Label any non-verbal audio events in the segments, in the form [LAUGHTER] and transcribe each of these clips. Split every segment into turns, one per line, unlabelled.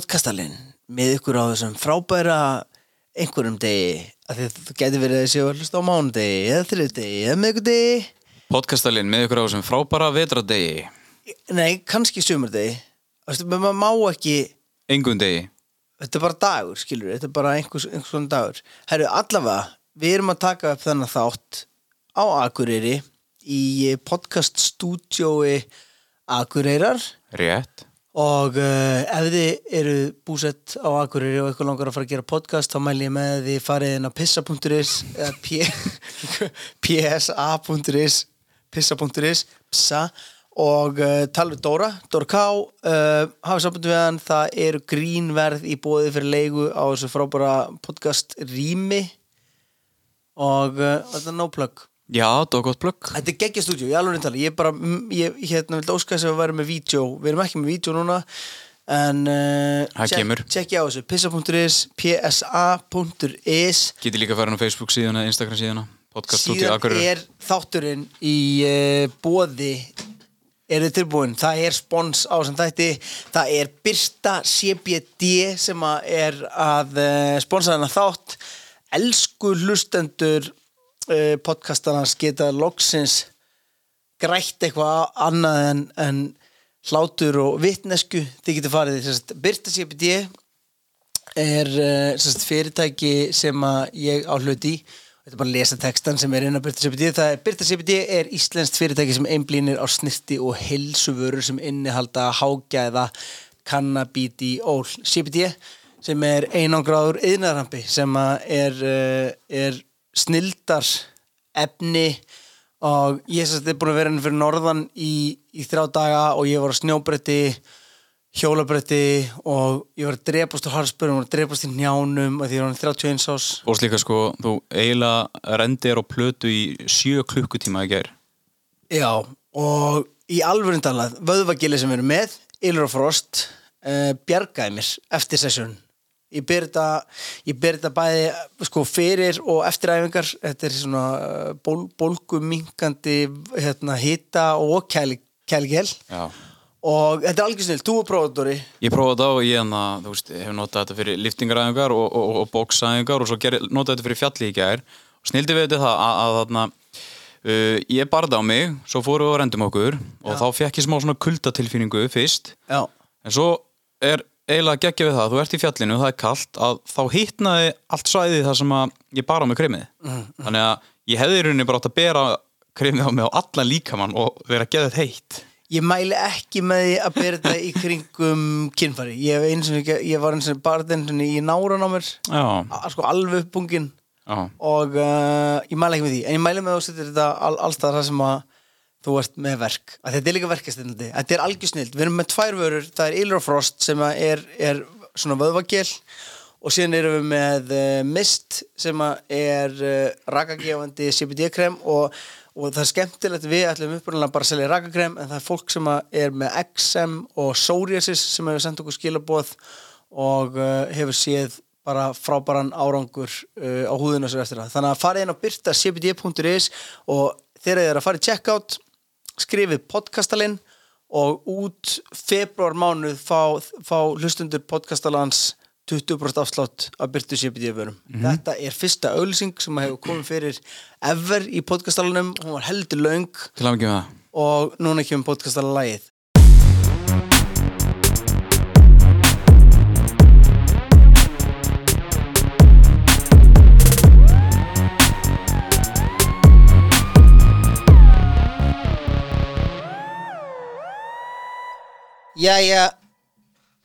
podcastalinn með ykkur á þessum frábæra einhverjum degi af því að þú getur verið að séu að hlusta á mánudegi eða þriðdegi eða miðgudegi
Podcastalinn með ykkur á þessum frábæra vetradegi
nei, kannski sumardegi Veistu, menn maður má ekki
Engun degi
þetta er bara dagur, skilur þetta er bara einhvers, einhvers svona dagur herru, allavega, við erum að taka upp þennan þátt á Akureyri í podcaststúdjói Akureyrar
Rétt
Og uh, ef þið eru búsett á Akureyri og eitthvað langar að fara að gera podcast þá mæl ég með að þið farið inn á pissa.is eða p- [LAUGHS] psa.is pissa.is psa og uh, tala við Dóra, Dóra Ká uh, hafið samband við hann, það eru grínverð í bóði fyrir leigu á þessu frábæra podcast rými og uh, þetta er no plug
Já, það var gott plugg
Þetta er geggja stúdíu, ég alveg tala Ég bara, mm, ég hérna vildi óska þess að við værum með vídeo Við erum ekki með vídeo núna En uh,
Það kemur.
tjekki á þessu Pissa.is, psa.is
Geti líka farin á Facebook síðuna, Instagram síðuna Podcast út í
Síðan
Akureyri
er þátturinn í uh, bóði Er þið tilbúin? Það er spons á sem þætti Það er Birta CBD sem að er að uh, sponsa þennan þátt Elsku hlustendur uh, podcastarnas geta loksins grætt eitthvað annað en, en hlátur og vitnesku þið getur farið í sérst Birta CBD er eh, sem sagt, fyrirtæki sem að ég á hlut í þetta er bara að lesa textan sem er inn á Birta CBD það er Birta CBD er íslenskt fyrirtæki sem einblínir á snirti og heilsuvörur sem innihalda hágæða kannabíti ól CBD sem er einangráður yðnarampi sem að er, eh, er snildar efni og ég sérst er búin að vera henni fyrir norðan í, í þrjá daga og ég var á snjóbretti hjólabretti og ég var að drepast á harspörum og að drepast í njánum og því ég var hann 31 ás
Og líka sko, þú eiginlega rendir og plötu í sjö klukkutíma í gær
já og í alvöru talað vöðvagili sem við erum með Ylur og Frost uh, bjargaði mér eftir sessjón ég ber þetta ég ber þetta bæði sko fyrir og eftir æfingar þetta er svona eh, ból, bólgumingandi hérna hita og kæli, kæligel
Já
og þetta er algjör snill, þú er prófadóri
Ég prófaði þetta og ég en að, þú veist, hef notað þetta fyrir liftingaræðingar og, og, og bóksaðingar og svo ger, notaði þetta fyrir fjalli í gær og snildi við þetta það að, að þarna uh, ég barði á mig, svo fórum við og rendum okkur og þá fekk ég smá svona kuldatilfinningu fyrst
já,
En svo er eiginlega geggja við það, þú ert í fjallinu, það er kallt að þá hittnaði allt svæðið þar sem að ég bara á mig kremið. Þannig að ég hefði í rauninni bara átt að bera kremið á mig á allan líkamann og vera geðið heitt.
ég mæli ekki með því að bera þetta í kringum kynfæri ég, hef einu sinni ge- ég var eins og barðin í náran á mér
Já,
a- sko alveg uppbungin
já,
og uh, ég mæli ekki með því en ég mæli með að þú setur þetta all, alltaf það sem að þú ert með verk að þetta er líka verkastillandi, þetta er algjör snild við erum með tvær vörur, það er Ylur og Frost sem að er, er svona vöðvagel og síðan erum við með uh, Mist sem að er uh, rakagefandi CBD-krem og, og það er skemmtilegt við ætlum upprunalega bara að selja rakakrem en það er fólk sem að er með XM og psoriasis sem hefur sendt okkur skilaboð og uh, hefur séð bara frábæran árangur uh, á húðinu sér eftir það. Þannig að farið inn á byrtacbd.is e og þegar þið eru að fara í checkout skrifið podcastalinn og út februar mánuð fá, fá hlustundur podcastalans 20% afslátt af byrtu CBD e vörum. Þetta er fyrsta auðlýsing sem hefur komið fyrir ever í podcastalunum, hún var heldur löng
til að mikið með það.
og núna kemur podcastalalagið. Jæja,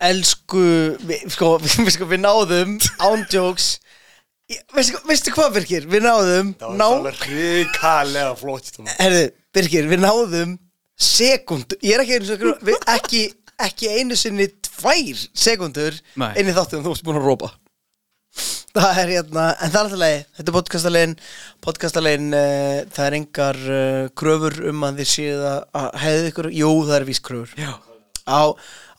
elsku, við, sko, [LAUGHS] við, sko, við náðum ándjóks, veistu, veistu hvað Birgir, við náðum,
Það
ná,
var alveg hrikalega flott sko. strákar.
herðu, Birgir, við náðum sekundu, ég er ekki einu sinni, við, ekki, ekki einu sinni tvær sekundur
Nei.
inn í þáttum, þú ert búin að rópa. Það er hérna, en það er alltaf leið, þetta er podcastalegin, podcastalegin, uh, það er engar uh, kröfur um að þið séð að- að hefðu ykkur, jú það er vís kröfur
Já.
á,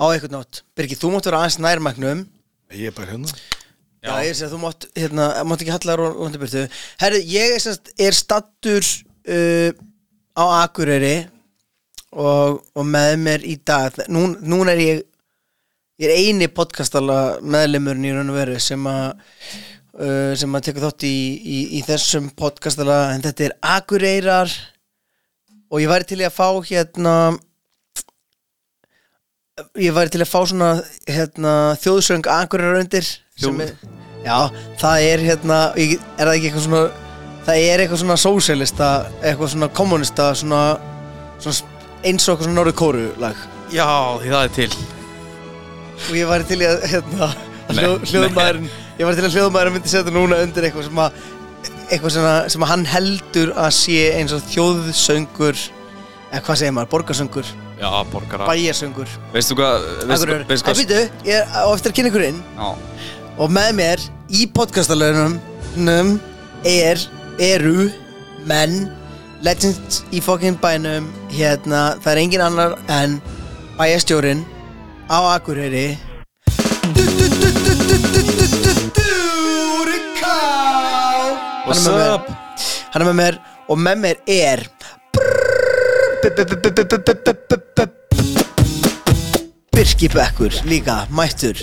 á eitthvað nátt Birgir, þú mátt vera aðeins nærmæknum
Ég er bara hérna
Já, ég er að segja, þú mátt, hérna, mátt ekki hallar og landi burtu Herru, ég er, semst, er stattur uh, á Akureyri og, og með mér í dag nú, Núna er ég ég er eini podcastala meðlemurinn í raun og veru sem að uh, sem að teka þátt í, í, í þessum podcastala en þetta er Akureyrar og ég væri til í að fá hérna ég væri til að fá svona hérna, þjóðsöng Akureyrar undir sem er, já, það er hérna ég- er það ekki eitthvað svona það er eitthvað svona sósialista eitthvað svona kommunista svona, svona sp- eins og eitthvað svona norður kóru lag
Já, því það er til
og ég væri til í að hérna,
Nei,
hljó, hljóðmaðurinn ég væri til að hljóðmaðurinn myndi setja núna undir eitthvað sem að eitthvað sem, að, sem að hann heldur að sé eins og þjóðsöngur eða hvað segir maður, borgarsöngur,
Já, borgara
bæjarsöngur
Veistu hvað Veistu
Akureyrar.
hvað veistu
En
hvað-
býtu, ég er á eftir að kynna ykkur inn
Já,
og með mér í podcastalögnum er, eru menn, legends í fokkin bænum hérna, það er engin annar en bæjastjórin á Akureyri Dúri Ká Hann
What's
er með mér-
up?
Hann er með mér og með mér er Birki Bekkur líka, mættur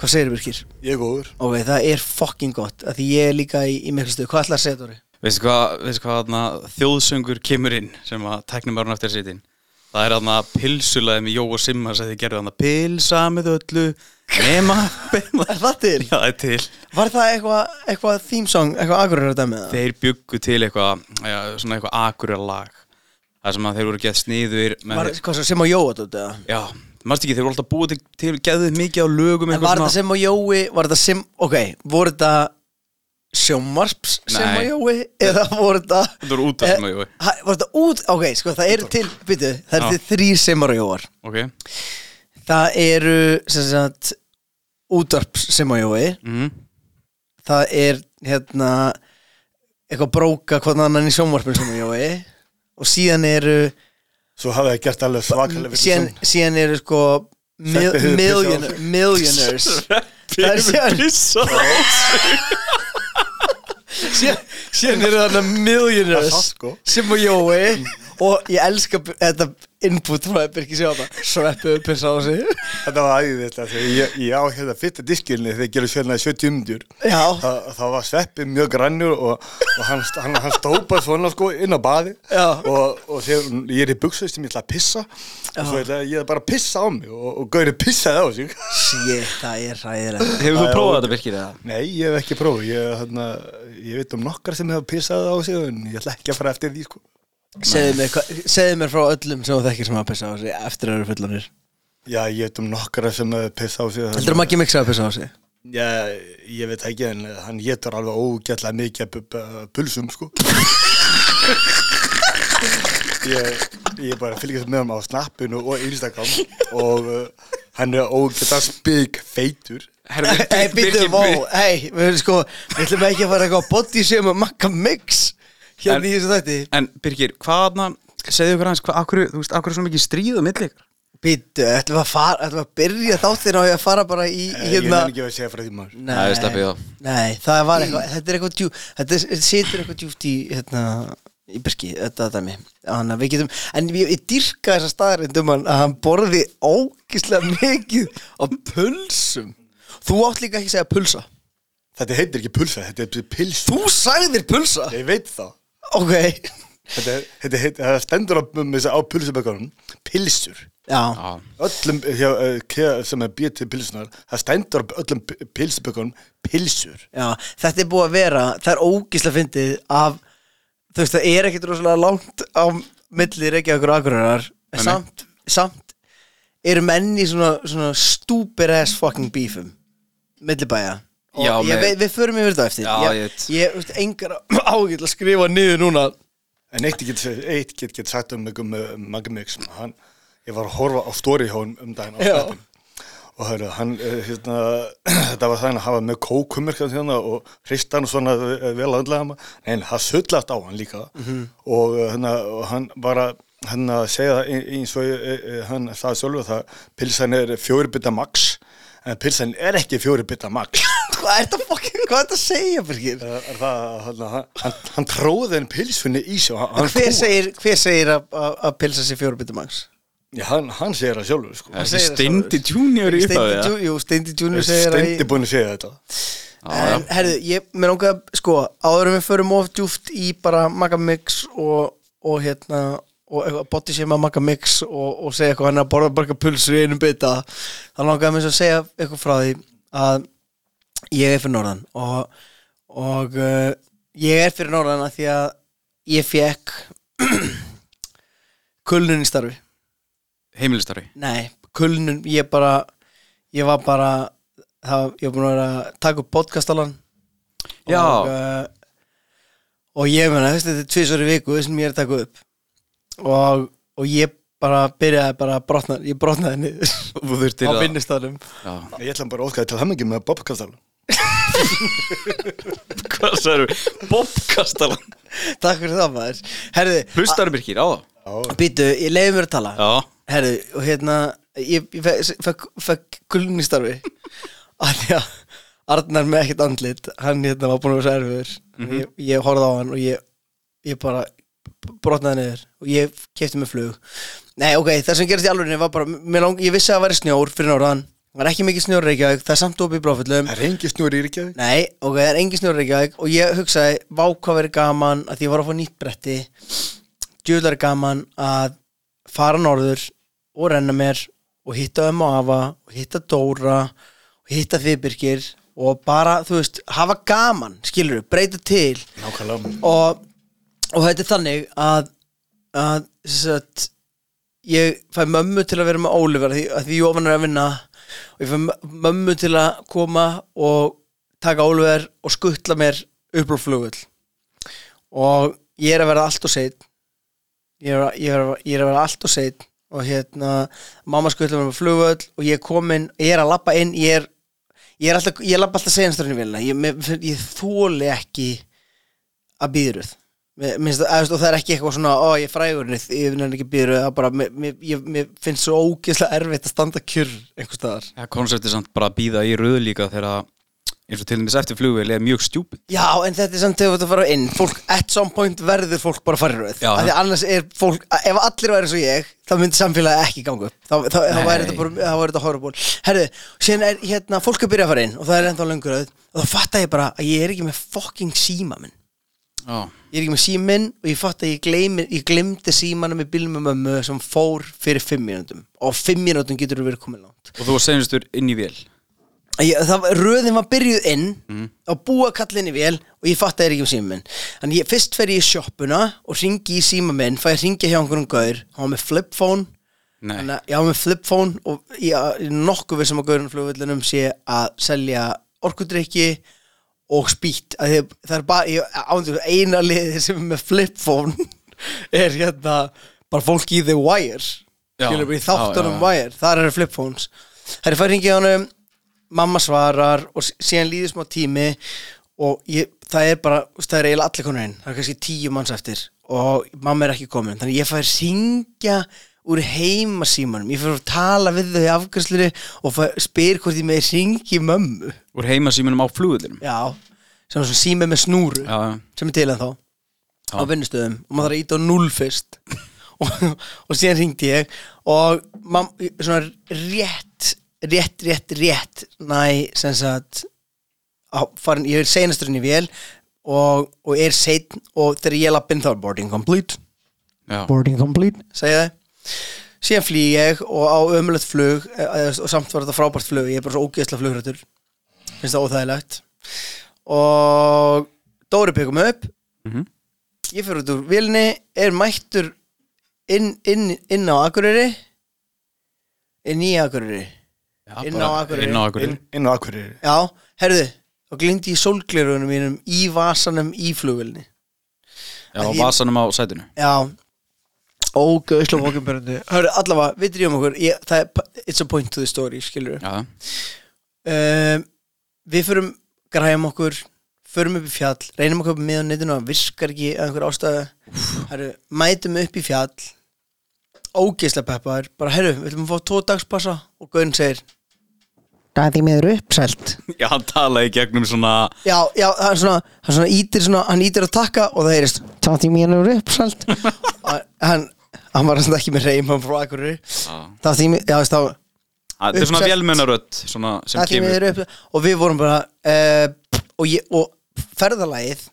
Hvað segir Birkir?
Ég er góður
Ok, það er fucking gott að Því ég er líka í, í miklu stöð Hvað ætlar að segja Dóri?
Veistu hvað, veistu hvað hana, þjóðsöngur kemur inn sem að teknum bara eftir að sitja inn Það er hann að pilsulaði með Jó og Simma sem þið gerðu hann að pilsa með öllu
[LAUGHS]
nema
Er það til?
Já, það er til
Var það eitthvað eitthva theme song, eitthvað agurir að dæmið það?
Þeir bjuggu til eitthvað ja, svona eitthvað akurja lag Það sem að þeir voru gett sniður með
Var, hvað svo, sem á Jóa þetta?
Já, marstu ekki, þeir voru alltaf búið til, til geðið mikið á lögum
En
eitthvað
var þetta sem á Jói, var þetta sem, ok, voru þetta sjómarps sem á
Nei.
Jói? Eða voru þetta...
Þetta voru út af sem á Jói.
Ha, Var þetta út, ok, sko, það eru til, byrju, það eru
Já.
til þrýr sem á Jóar.
Ok,
Það eru, sem sagt, útarps sem á Jói.
mhm
það er hérna eitthvað bróka hvernig annan í sjónvarpinu sem ég jói og síðan eru
Svo hafði ég gert alveg svakalega við
síðan, síðan eru sko mil,
Sveppi hefur
million,
pissað á sig.
millionaires það
[LAUGHS]
er síðan síðan, síðan eru þarna
Það
millionaires
er satt, sko.
sem og jói og ég elska b- þetta input frá Birki Sjóta sveppu upp eins á sig
Þetta var æðið þetta þegar ég, ég á hérna fyrta diskilni þegar ég gerði hérna sjálfnaði 70 umdjur
já,
Þa, Það var sveppi mjög grannur og, og hann, st- hann, hann stópað svona sko inn á baði
Já.
og, og þegar ég er í buksveist sem ég ætla að pissa og svo ætla ég bara að pissa á mig og, og gaurið pissaði á sig
shit, það er ræðilegt
Hefur þú prófað þetta
[LAUGHS]
virkir eða?
[LAUGHS] Nei, ég hef ekki prófið, ég, hérna, ég veit um nokkar sem hefur pissað á sig en ég ætla ekki að fara eftir því sko
segðu mér, hva- segðu mér frá öllum sem þú þekkir sem að pissa á sig eftir að eru fullanir
Já, ég veit um nokkra sem hefur pissað á sig
heldur að Maggi Mix að pissa á sig
Já, ég veit ekki en hann getur alveg ógætlega mikið af bu- bu- pulsum sko ég, ég bara fylgjast með hann á snappinu og Instagram og uh, hann er ógætlega spik feitur
Hei, býttu, vó, hei, við erum sko, við ætlum ekki að fara eitthvað að body sem að makka mix hérna
En-
í þessu þætti.
En Birgir, hvaðna, segðu okkur aðeins, hvað, akkur, þú veist, akkur er svona mikið stríð á milli ykkur?
Býttu, ætlum við að fara, ætlum við að byrja þáttir á ég að fara bara í, í
Eh, Ég
hérna.
nefn ekki að segja frá því maður
Nei,
Nei, sleppið þá.
Nei, það var eitthvað, þetta er eitthvað djú, þetta er- þetta situr eitthvað djúft í, hérna, í byrki, þetta dæmi. Þannig að við getum, en ég, ég dyrka þessa staðarindum hann að hann borði ógislega mikið á pulsum. Þú átt líka ekki að segja pulsa.
Þetta heitir ekki pulsa, þetta er pils
Þú sagðir pulsa?
Ég veit það
Ok,
Þetta, þetta, þetta, þetta stendur á, með þess að á pulsabökkunum Pilsur
já.
Já,
Öllum hjá, uh, sem er býð til pilsunar Það stendur á öllum pilsabökkunum Pilsur
Já, þetta er búið að vera, það er ógísla fyndið af, þú veist, það er ekkert rosalega langt á milli Reykjavíkur og Akureyrar, en
Nei, nei.
samt, samt eru menn í svona, svona stúpir ass fucking beefum, millibæja. Og
Já,
ég,
með-
við, við förum yfir þetta eftir.
Já,
ég,
ég
ég,
veit.
ég þú veist, engar
[CLEARS THROAT]
ágætla að skrifa niður núna.
En eitt get, eitt get, get sagt um mig um uh, Maggi Mix hann, Ég var að horfa á stóri hjá hann um daginn á
Já.
snappinu. og hörru, hann, uh, hérna, [CLEARS THROAT] þetta var þannig að hafa með kókumirkan hérna og hrista hann svona uh, vel aðlega maður, en það sullast á hann líka og, uh, hérna, og hann bara hann að hérna, segja það ein- eins og uh, hann sagði sjálfur það, pilsan er fjóri bita max, en pilsan er ekki fjóri bita max
[LAUGHS] Hvað er þetta fucking, hvað er þetta að segja, Birgir?
Það er það, hérna, hann, hann, hann tróði henni pilsunni í sig og hann- hann
Hver
kúgaði.
segir, hver segir að- að að pilsa sér fjórubyttumangs?
Já, hann, hann segir það sjálfur sko.
Er
Hann
ekki
segir það
Steindi
sjálfur.
Junior í
Steindi
upphafi, eða?
Ju- Jú, Steindi Junior segir að
Steindi búin að segja þetta
Já, já.
En herðu, ég, mér langar að, sko, áður en við förum of djúft í bara Magamix og, og hérna og eitthvað body shame að Magamix og, og segja eitthvað hann er að borða bara eitthvað pulsur í einum bita þá langar að mér svo að segja eitthvað frá því að ég er fyrir norðan og, og uh, ég er fyrir norðan að því að ég fekk [CLEARS THROAT] kulnun í starfi
Heimilistari
Nei, kulnun, ég bara ég var bara það, ég var búin að vera að taka upp podcast allan
Já.
og, uh, og ég meina, þessi, þetta er tvisvar í viku sem ég er að taka upp og, og ég bara byrjaði bara að brotna, ég brotnaði niður
uh, Þú
á
þurftir
vinnustafnum
Já. [LAUGHS]
Ég ætla bara að óska þér til hamingi með Bobkastal
Hvað sagður? Bobkastalan
Takk fyrir það maður Herðu,
Hlustarum ykkur á það
býtu, ég leiði mér að tala
Já
Herðu, og hérna ég, ég fekk fek, fek kulnun í starfi að því að Arnar með ekkert andlit, hann hérna var búin að vera svo erfiður ég, ég horfði á hann og ég, ég bara brotnaði niður og ég kefti mig flug Nei, ok, það sem gerist í alvörinni var bara mér lang, ég vissi að það væri snjór fyrir norðan það var ekki mikið snjór í Reykjavík, það er samt opið í bláföllum
Það er engi snúri í Ríkjavík
Nei, ok, það er engin snjór í Reykjavík og ég hugsaði, vá hvað verið gaman að því ég var að fá nýtt bretti djúlar gaman að fara norður og renna mér og hitta um og afa og hitta Dóra og hitta Þibirkir og bara, þú veist, hafa gaman skilur, breyta til
Nákvæmlega
og, og þetta er þannig að, að satt, ég fæ mömmu til að vera með Oliver af því, að því Jóvan er að vinna og ég fæ mö- mömmu til að koma og taka Oliver og skuttla mér upp á flugull og ég er að vera allt og seitt ég er, að- ég, er, að- ég er að vera allt og seitt og hérna mamma skuttla mér upp á flugull og ég er komin, ég er að labba inn ég er, ég er alltaf, ég labba alltaf seinasturinn í vilna, ég, mér- ég þóli ekki að býðruð Minnst, að, veist, og það er ekki eitthvað svona, ó ég er frægurinn ég finn ekki býður það er bara, mér, mér, ég, mér finnst svo ógeðslega erfitt að standa kjur einhvers staðar
ja, Konceptið samt bara að býða í röðu líka þegar að eins og til dæmis eftir flugvél er mjög stjúpid
já en þetta er samt þegar þú ert að fara inn fólk, at some point verður fólk bara farröð
Já.
af því annars er fólk, ef allir væri eins og ég þá myndi samfélagi ekki ganga upp þá, þá, þá væri
Nei.
þetta bara, þá væri þetta horriból herðu, síðan er hérna, fólk er byrjað að fara inn og það er ennþá lengur að og þá fattar ég bara að ég er ekki með fucking síma minn
Já
ég er ekki með síminn og ég fatt að ég, gleymi, ég glemdi símanum í bílum með mömmu sem fór fyrir fimm mínútum og fimm mínútum getur þú verið komin langt
Og þú var senjastur inn í vél
ég, það, var- röðin var byrjuð inn og búa kallinni vel og ég fatt að ég er ekki með síminn en ég, fyrst fer ég í sjoppuna og ringi í síma minn fæ ég ringi hjá einhverjum gaur hann var með flipphone
Nei
Þannig að ég hafa með flipphone og ég er nokkuð við sem að gaurinn á flugvöllunum sé að selja orkudrykki og spýtt að þið, það er bara, ég ándur eina liðið sem er með flipphone [LAUGHS] er hérna bara fólk í The Wire
Já,
skilur bara í
já,
þáttunum
já.
Wire, þar eru flipphones það er færi hringið honum mamma svarar og sí- síðan líður smá tími og ég, það er bara þú veist, það er eiginlega allir konur einn, það er kannski tíu manns eftir og mamma er ekki komin þannig ég færi hringja úr heimasímanum, ég fyrir að tala við þau í afgjörslu og fær, spyr hvort ég með hringi mömmu
Úr heimasýmunum á flugvélinum
Já, sem er svona sími með snúru
Já, já.
sem er til en þá á vinnustöðum og maður þarf að íta á null fyrst [LAUGHS] og, og síðan ringdi ég og mam, svona rétt rétt, rétt, rétt næ, sem sagt á, farin, ég er seinasturinn í vél og, og er sein og þegar ég lappin þá er boarding complete
Já
boarding complete segja það síðan flý ég og á ömulegt flug eh, eh, og samt var þetta frábært flug ég er bara svo ógeðslega flugrættur finnst það óþægilegt og Dóri pekum upp
Mhm.
ég fyrir út úr vilni er mættur inn, inn, inn á Akureyri inn í Akureyri
Já,
Inn
bara
á Akureyri.
Inn á
Inn,
Akureyri
inn á Akureyri
já, herðu og glindi í sólglerunum mínum í vasanum í flugvilni
Já,
Að ég-
vasanum á sætinu
Já Ógauðslega fókumbyrjandi Hörru, allavega, við drýjum okkur ég, það er, It's a point to the story, skilur
Já,
um, Við förum, græjum okkur Förum upp í fjall, reynum okkur upp með á netinu Það virkar ekki að einhver ástæðu Hörru, mætum upp í fjall Ógeðslega peppar Bara, herru, við ætlum að fá tvo dagspassa Og Gaurin segir Dæði miður uppselt
já hann talaði í gegnum svona
Já, já, það er svona,
[LAUGHS]
hann svona ítir svona, hann ítir að takka og það heyrist Tótti mínur uppselt Hann, hann var samt ekki með reym hann var frá Akureyri
Já.
það þýmir, já veist þá
Þetta er svona
Uppsett.
vélmennarödd svona, sem
það þýmir
kemur
upp og við vorum bara uh, og, ég, og ferðalagið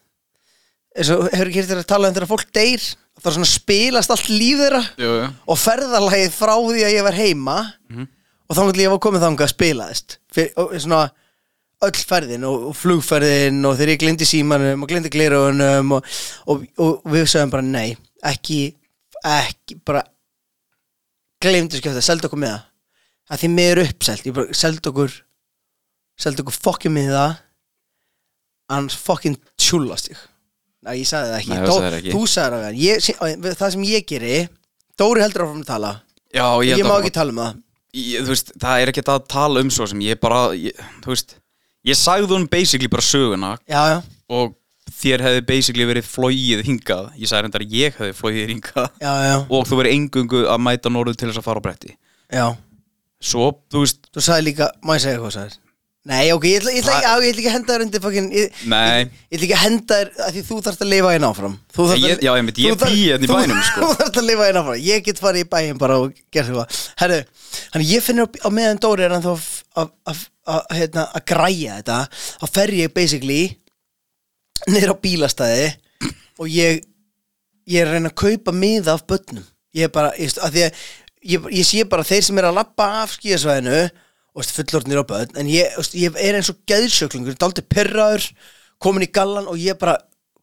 eins og hefur ekki hér til að tala um þegar fólk deyr það er svona spilast allt líf þeirra
Jú, jú.
og ferðalagið frá því að ég var heima
Mhm.
og þá til ég var komið þangað að spilaðist fyrir, og, svona öll ferðin og, og flugferðin og þegar ég glindi símanum og glindi glerunum og, og, og, og við sögum bara nei ekki, ekki bara glimtu skjöfta, seldu okkur með það að því mig er uppselt, ég bara seldu okkur seldu okkur fokkjum með það annars fokkin tjúlast ég Nei, ég sagði það ekki,
Nei, þú
Dó-
sagðir það ekki.
þú sagði það ekki ég, sí- það sem ég geri Dóri heldur áfram að tala
Já, ég,
ég,
held
má
að-
ekki tala um það
ég, þú veist, það er ekki það að tala um svo sem ég bara, ég, þú veist ég sagði hún basically bara söguna
já, já,
og þér hefði basically verið flóið hingað ég sagði reyndar að ég hefði flóið hingað
já, já,
og þú verið engungu að mæta norðu til þess að fara á bretti
já.
svo, þú veist,
þú sagði líka, má ég segja eitthvað sagði Nei, ok, ég ætla, ég ætla,
Það-
ég, ég ætla ekki að henda þér undir fucking, ég,
Nei.
ég, ég ætla ekki að henda þér að því þú þarft að lifa hérna áfram Þú þarft
Ég-
að-
já, einmitt, ég
þú þarft-
bý hérna í
þú-
bænum,
[LAUGHS]
sko.
Þú þarft að lifa hérna áfram, ég get farið í bæin bara og gert eitthvað Herru, hann ég finnur á, á meðan Dóri er hann þá að- að- að að, hérna, að græja þetta þá fer ég basically niður á bílastæði og ég ég er að reyna að kaupa miða af börnum ég er bara, ég, veist, af því að ég, ég sé bara þeir sem er að lappa af skíðasvæðinu og veist, fullorðnir á börn en ég, veist, ég er eins og gæðsjöklingur daldi perraður, komin í gallan og ég bara,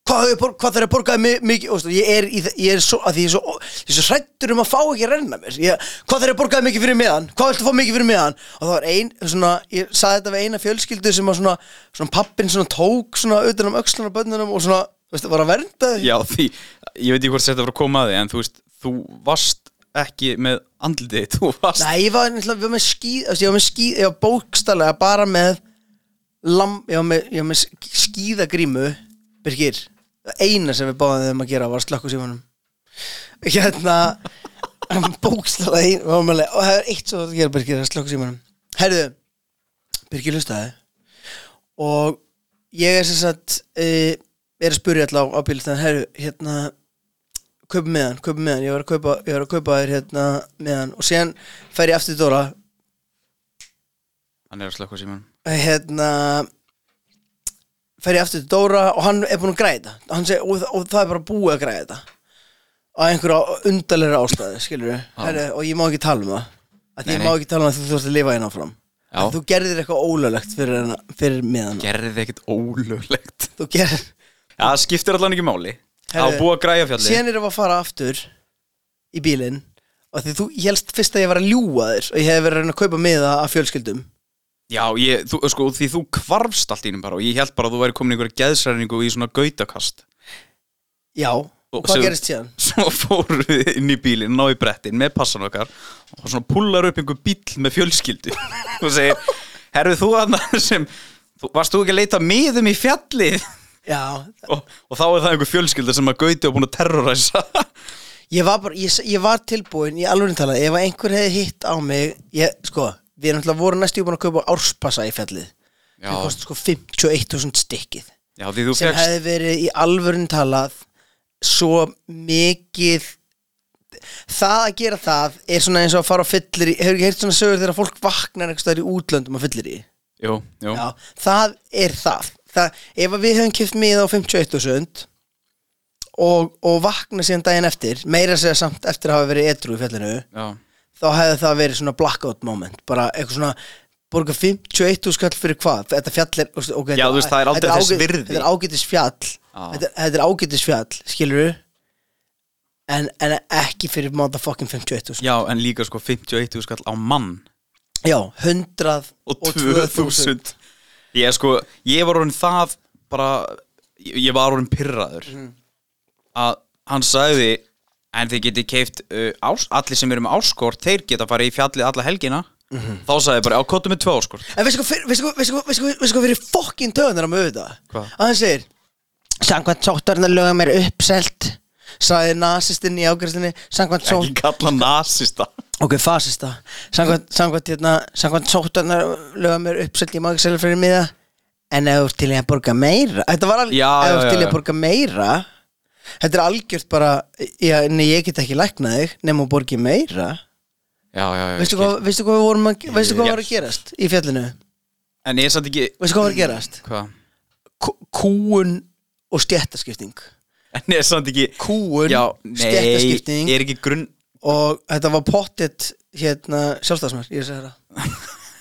hvað, hef ég borg- hvað þeir að borgaði mikið, og veist, ég er, í, þe- ég er svo, að því ég er svo, ég er svo hrættur um að fá ekki að renna mér, ég, hvað þeir að borgaði mikið fyrir meðan hvað viltu fá mikið fyrir meðan og það var ein, svona, ég saði þetta við eina fjölskyldu sem að svona, svona pappin svona tók svona utan um öxlun á börnunum og svona, veist, var að vernda þau
já, því ég veit ekki hvort þetta var að koma að því en þú veist, þú varst ekki með andlitið, þú varst
Nei, ég var, náttúrulega- ég var með skíð, þú veist, ég var með skíð, ég var bókstallega bara með lam, ég var með, ég var með skíðagrímu, Birgir, það eina sem við báðum þeim að gera var slökku símanum. Hérna, [LAUGHS] bókstallega, ein- við varum alveg- og það er eitt svo að gera, Birgir, það er slökku símanum. Herðu, Birgir hlustaði og ég er sem sagt, uh, er að spurja alltaf á, á bílstæðan, herru, hérna, kaupa meðan, kaupa meðan, ég var að kaupa, ég var að kaupa þér hérna meðan og síðan fer ég aftur til Dóra
hann er að slökka síman
hérna fer ég aftur til Dóra og hann er búinn að græða þetta. hann seg, og, og það er bara búið að græða þetta á einhverja undarlega ástæðu skilur við, og ég má ekki tala um það að
Nei,
ég
nei.
má ekki tala um að þú þurft að lifa hérna áfram
Já.
Að þú gerðir eitthvað ólöglegt fyrir, hana, fyrir meðan
gerði ekkert ólöglegt
þú gerðir
já, það skiptir allan ekki máli á
Herðu,
búið að græja fjalli
síðan erum við að fara aftur í bílinn og því þú ég helst fyrst að ég var að ljúga þér og ég hef verið að reyna að kaupa miða af fjölskyldum
Já, ég, þú, sko, því þú kvarfst allt ínum bara og ég held bara að þú væri komin í einhverja geðsræningu í svona gautakast [LAUGHS]
já, og
sem-
hvað gerist síðan?
Svo fóru við inn í bílinn, ná í brettin með passan okkar og svona pullar upp einhver bíl með fjölskyldu [LAUGHS] og segir, herfi þú hann sem þú, varst þú ekki að leita miðum í fjallið [LAUGHS]
já,
og, og þá er það einhver fjölskylda sem að gauti og búin að terroræsa
ég var bara, ég, ég var tilbúin í alveg talað, ef að einhver hefði hitt á mig ég, sko, við erum alltaf voru næstu búin að kaupa árspassa í fjallið
Já.
það kosti sko 51.000 stykkið
[LAUGHS] Já, því þú
sem
fegst
hefði verið í alvörun talað svo mikið það að gera það er svona eins og að fara á fyllir í hefur ekki heyrt svona sögur þegar fólk vaknar einhvers staðar í útlöndum á fyllir í
Jú, jú,
Já, það er það, það Ef að við höfum kipt miða á 51.000 og, og vakna síðan daginn eftir meira segja samt eftir að hafa verið edru í fjallinu
já,
þá hefði það verið svona blackout moment bara eitthvað svona borga 51.000 skall fyrir hvað þetta fjall er, ok,
Já, þú veist, það er aldrei
þetta
þess
ágæ-
virði.
þetta er ágætis fjall
Já.
þetta, þetta er ágætis fjall, skilur en, en ekki fyrir motherfucking 51.000
já, en líka sko 51 skall á mann
já, 100
og 2000 ég sko, ég var orðin það bara, ég ég var orðin pyrraður
Mm.
að hann sagði en þið getið keift uh, ás, allir sem eru með áskort, þeir geta farið í fjallið alla helgina
Mhm.
þá sagði ég bara, á kottu með tvö áskort
En veistu hvað fyrir- veistu hvað- veistu hvað- veistu hvað- veistu hvað fyrir fokkin töðunar á mig auðvitað?
Hvað?
Að hann segir Sangvænt sóttarnarlögum er uppselt sagði nasistinn í ágærslinni Sangvænt sótt
ekki kalla nasista
Ok, fasista Sangvænt, sangvænt, hérna, sangvænt sóttarnarlögum er uppselt í ágærslinni fyrir miða En ef þú ert til í að borga meira Þetta var alveg
Já,
Ef þú ert
já, já,
til í
já.
að borga meira Þetta er algjört bara, já, nei, ég get ekki læknað þig nema að borgi meira
já, já, já,
Veistu
skil.
hvað, veistu hvað við vorum að, veistu hvað
Yes.
var að gerast í fjallinu?
En ég er samt ekki
Veistu hvað var að gerast?
Hvað?
Kú- Kúun og stjættaskipting
En ég er samt ekki
Kúun,
Já, nei,
stjættaskipting
er ekki grunn
og þetta var pottet hérna sjálfstæðsmaður, ég segi það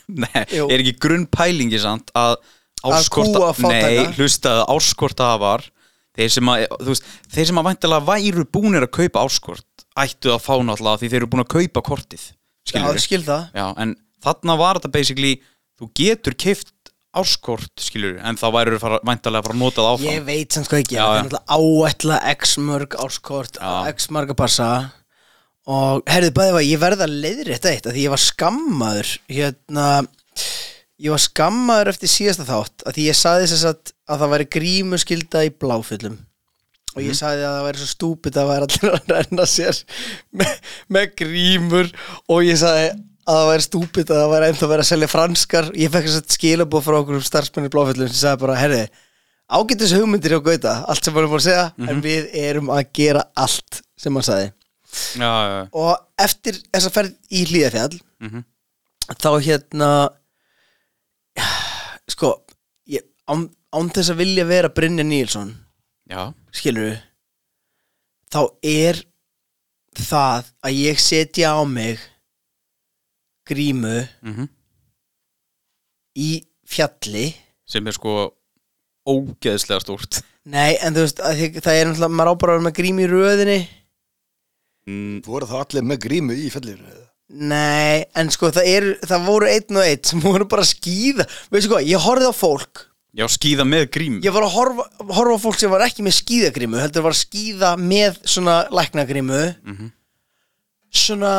Nei,
Jú.
er ekki grunnpælingi samt að
kúga
áskorta,
fátæka?
nei, hlustaðu áskorta hafar, þeir sem að þú veist, þeir sem að væntalega væru búnir að kaupa áskort, ættu að fá náttúrulega því þeir eru búin að kaupa kortið
Já,
skilur
skil það
Já, en þarna var þetta basically, þú getur keift áskort, skilur en þá væru fara, væntalega að fara að nota það áfram
Ég veit sem sko ekki, það
Já, já.
er náttúrulega áætla x mörg áskort,
Já.
x marga passa og herðu bæði var ég verða leiðri þetta eitt af því ég var skammaður hérna ég var skammaður eftir síðasta þátt af því ég saði þess að, að það væri grímuskylda í bláfjöllum og ég sagði að það væri svo stúpid að væri allir að renna sér með, með grímur og ég sagði að það væri stúpid að það væri ennþá verið að selja franskar ég fekk þess að skilabóð frá okkur um starfsmenni blófellum sem sagði bara, herri, ágætis hugmyndir hjá Gauta, allt sem hann er búin að segja en við erum að gera allt sem hann sagði
Já, já, já.
og eftir þess að ferð í Hlíðafjall þá hérna sko ég, án, án þess að vilja vera Brynja Níelsson
já,
skilur við þá er það að ég setja á mig grímu
mhm
í fjalli
sem er sko ógeðslega stórt
nei en þú veist að því, það er náttúrulega maður á bara að vera með grímu í röðinni
Mm,
Voru þá allir með grímu í fellir?
nei en sko það, er, það voru einn og einn sem voru bara að skýða veistu hvað ég horfði á fólk
Já, skýða með grím
ég var að horfa, horfa á fólk sem var ekki með skýðagrímu heldur var að skýða með svona læknagrímu svona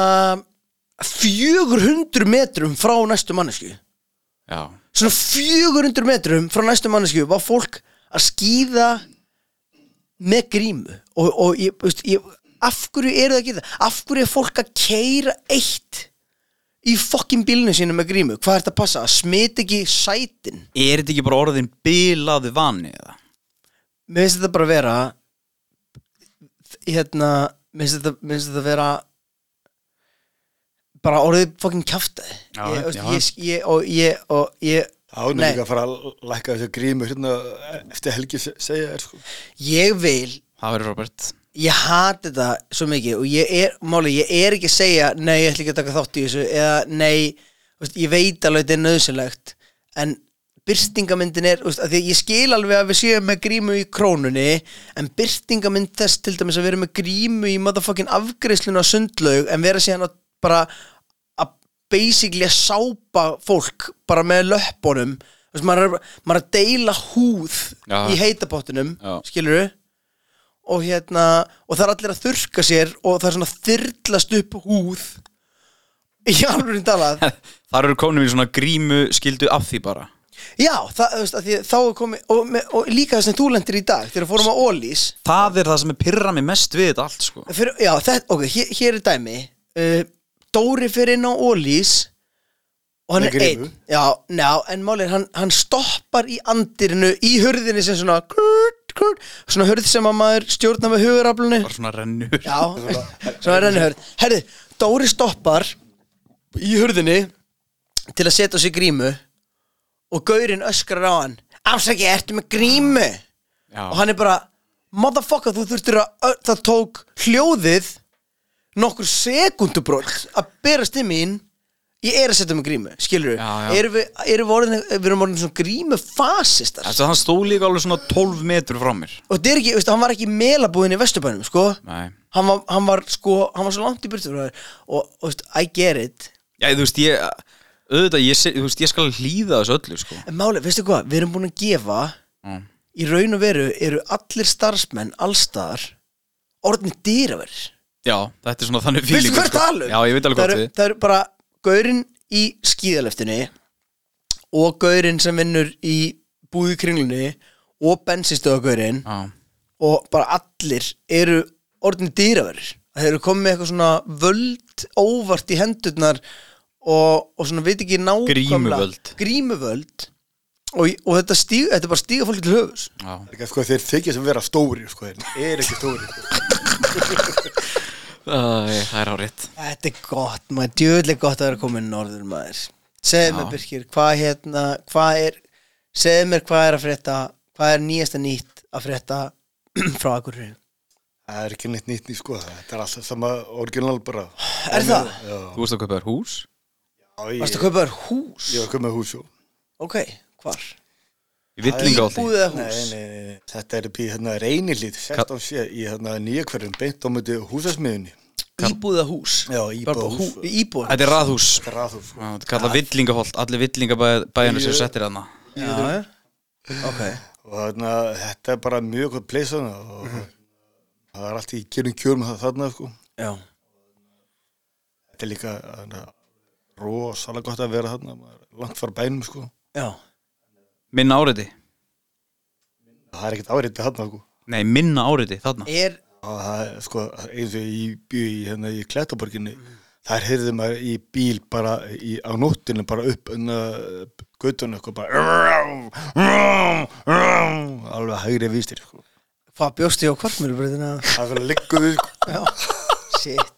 400 metrum frá næstu mannesku
Já,
svona 400 metrum frá næstu mannesku var fólk að skýða með grímu og, og ég, veist, ég, af hverju eru það að geta af hverju er fólk að keira eitt í fokkin bílnu sínu með grímu hvað er þetta að passa, að smita ekki sætin
er þetta ekki bara orðin bilaði vani eða?
mér finnst þetta bara vera hérna mér finnst þetta, mér finnst þetta vera bara orðið fokkin kjaftaði
Já,
ég, veist,
já.
ég, ég, og ég, og ég
Ánum
Nei.
líka að fara að lækka þessu grímu hérna eftir helgi se- segja er sko.
ég vil
Það verður Robert
ég hati þetta svo mikið og ég er, máli, ég er ekki að segja nei, ég ætla ekki að taka þátt í þessu eða nei, þú veist, ég veit alveg þetta er nöðsynlegt en byrtingamyndin er, þú veist, af því að ég skil alveg að við séum með grímu í krónunni en byrtingamynd þess til dæmis að vera með grímu í motherfucking afgreiðslun á sundlaug en vera síðan að bara að basically að sápa fólk bara með löppunum þú veist, maður er, maður er að deila húð
Já.
í heitabottinum,
Já.
skilur við og hérna og það er allir að þurrka sér og það er svona þyrlast upp húð í alveg talað
Það eru komin í svona grímu skildu af því bara
já, það, þú veist, að því, þá er komið og, með- og líka þess að þú lendir í dag þegar við fórum á Ólís
Það er það sem er pyrra mig mest við þetta allt sko
fyrir, já, þetta, ok, hér, hér er dæmi uh, Dóri fyrir inn á Ólís og hann
Með
er
grímu.
einn já, ná, en málið er hann, hann stoppar í andirinu í hurðinni sem svona krút, krút, svona hurð sem að maður stjórna með huguraflunni
Bara svona rennur
Já, svona er henni hörð Herði, Dóri stoppar í hurðinni til að setja á sig grímu og gaurinn öskrar á hann Afsaki, ertu með grímu?
Já.
Og hann er bara Motherfucker, þú þurftir að ö- Það tók hljóðið nokkur sekundubrótt að berast í mín Ég er að setja með grímu, skilur
Já, já.
við Erum við, erum við, orðin, við erum orðin svona grímu fasistar
Þessi hann stó líka alveg svona 12 metrur frá mér
Og þetta er ekki, veistu, hann var ekki melabúðin í Vesturbænum, sko
Nei
hann var, hann var sko, hann var svo langt í burtu frá þér og, og veist, I get it
Já, þú veist, ég auðvitað, ég, se- þú veist, ég skal hlýða þessu öllu sko
en málið, veistu hvað, við erum búin að gefa
Mm.
í raun og veru eru allir starfsmenn allstaðar orðin dýraverð
Já, þetta er svona þannig
veistu
feeling sko.
hvað er talum?
Já, ég veit alveg
um? það
hvað
eru,
við
það eru bara gaurinn í skíðaleftinni og gaurinn sem vinnur í búði kringlunni og bensinstöðagaurinn
Já,
og bara allir eru orðin dýraverðir þeir eru komið með eitthvað svona völd óvart í hendurnar og, og svona veit ekki nákvæmlega
Grímuvöld.
grímuvöld og, og þetta, stíg, þetta er bara stíga fólki til höfus
Já.
Líka, sko, þeir þykja sem vera stóri sko, þeir er ekki stóri sko.
Æ, það er á rétt
Þetta er gott, maður djöðlega gott að vera komin norður maður Segðu mér
Já.
Birkir, hvað hérna, hvað er segðu mér hvað er að frétta hvað er nýjasta nýtt að frétta [CLEARS THROAT] frá Akureyri
það er ekki neitt nýtt nýtt sko. þetta er alltaf sama orginal bara
Er það?
Já,
Þú veist að kaupa þér hús?
Já, ég,
Varstu að kaupa þér hús?
ég var komið með hús og
Ok, hvar?
Í villinga á því
Íbúð eða
Nei,
hús?
nei, nei, þetta er upp í hérna reynilít 16 sé í hérna nýja hverjum beint á mötu húsasmiðunni
Íbúð eða hús?
Já, íbúð
Bara
eða
hú-
hús.
Íbúð
Þetta er raðhús Já,
Graðu sko.
Þetta er kallað villingahólt Allir villingabæðinu sem
Ég-
settir hana
Já, já. ok
og þarna, þetta er bara mjög gott place hana og hérna, það er allt í kjörum kjörum það þarna sko.
Já,
þetta er líka hana, rosalega gott að vera þarna maður er langt fara bænum sko.
já
Minna áriði
það er ekkert áriði þarna sko.
Nei, minna áriði þarna
Er,
og það er sko, eins og ég bjöð í, hérna, í Kletaborginni þar heyrði maður í bíl bara í, á nóttinu bara upp unna gautunum eitthvað bara alveg hægri vístir sko.
hvað bjóstu ég á kvartmjörbröðina?
það er fyrir að liggja við sko.
Já, shit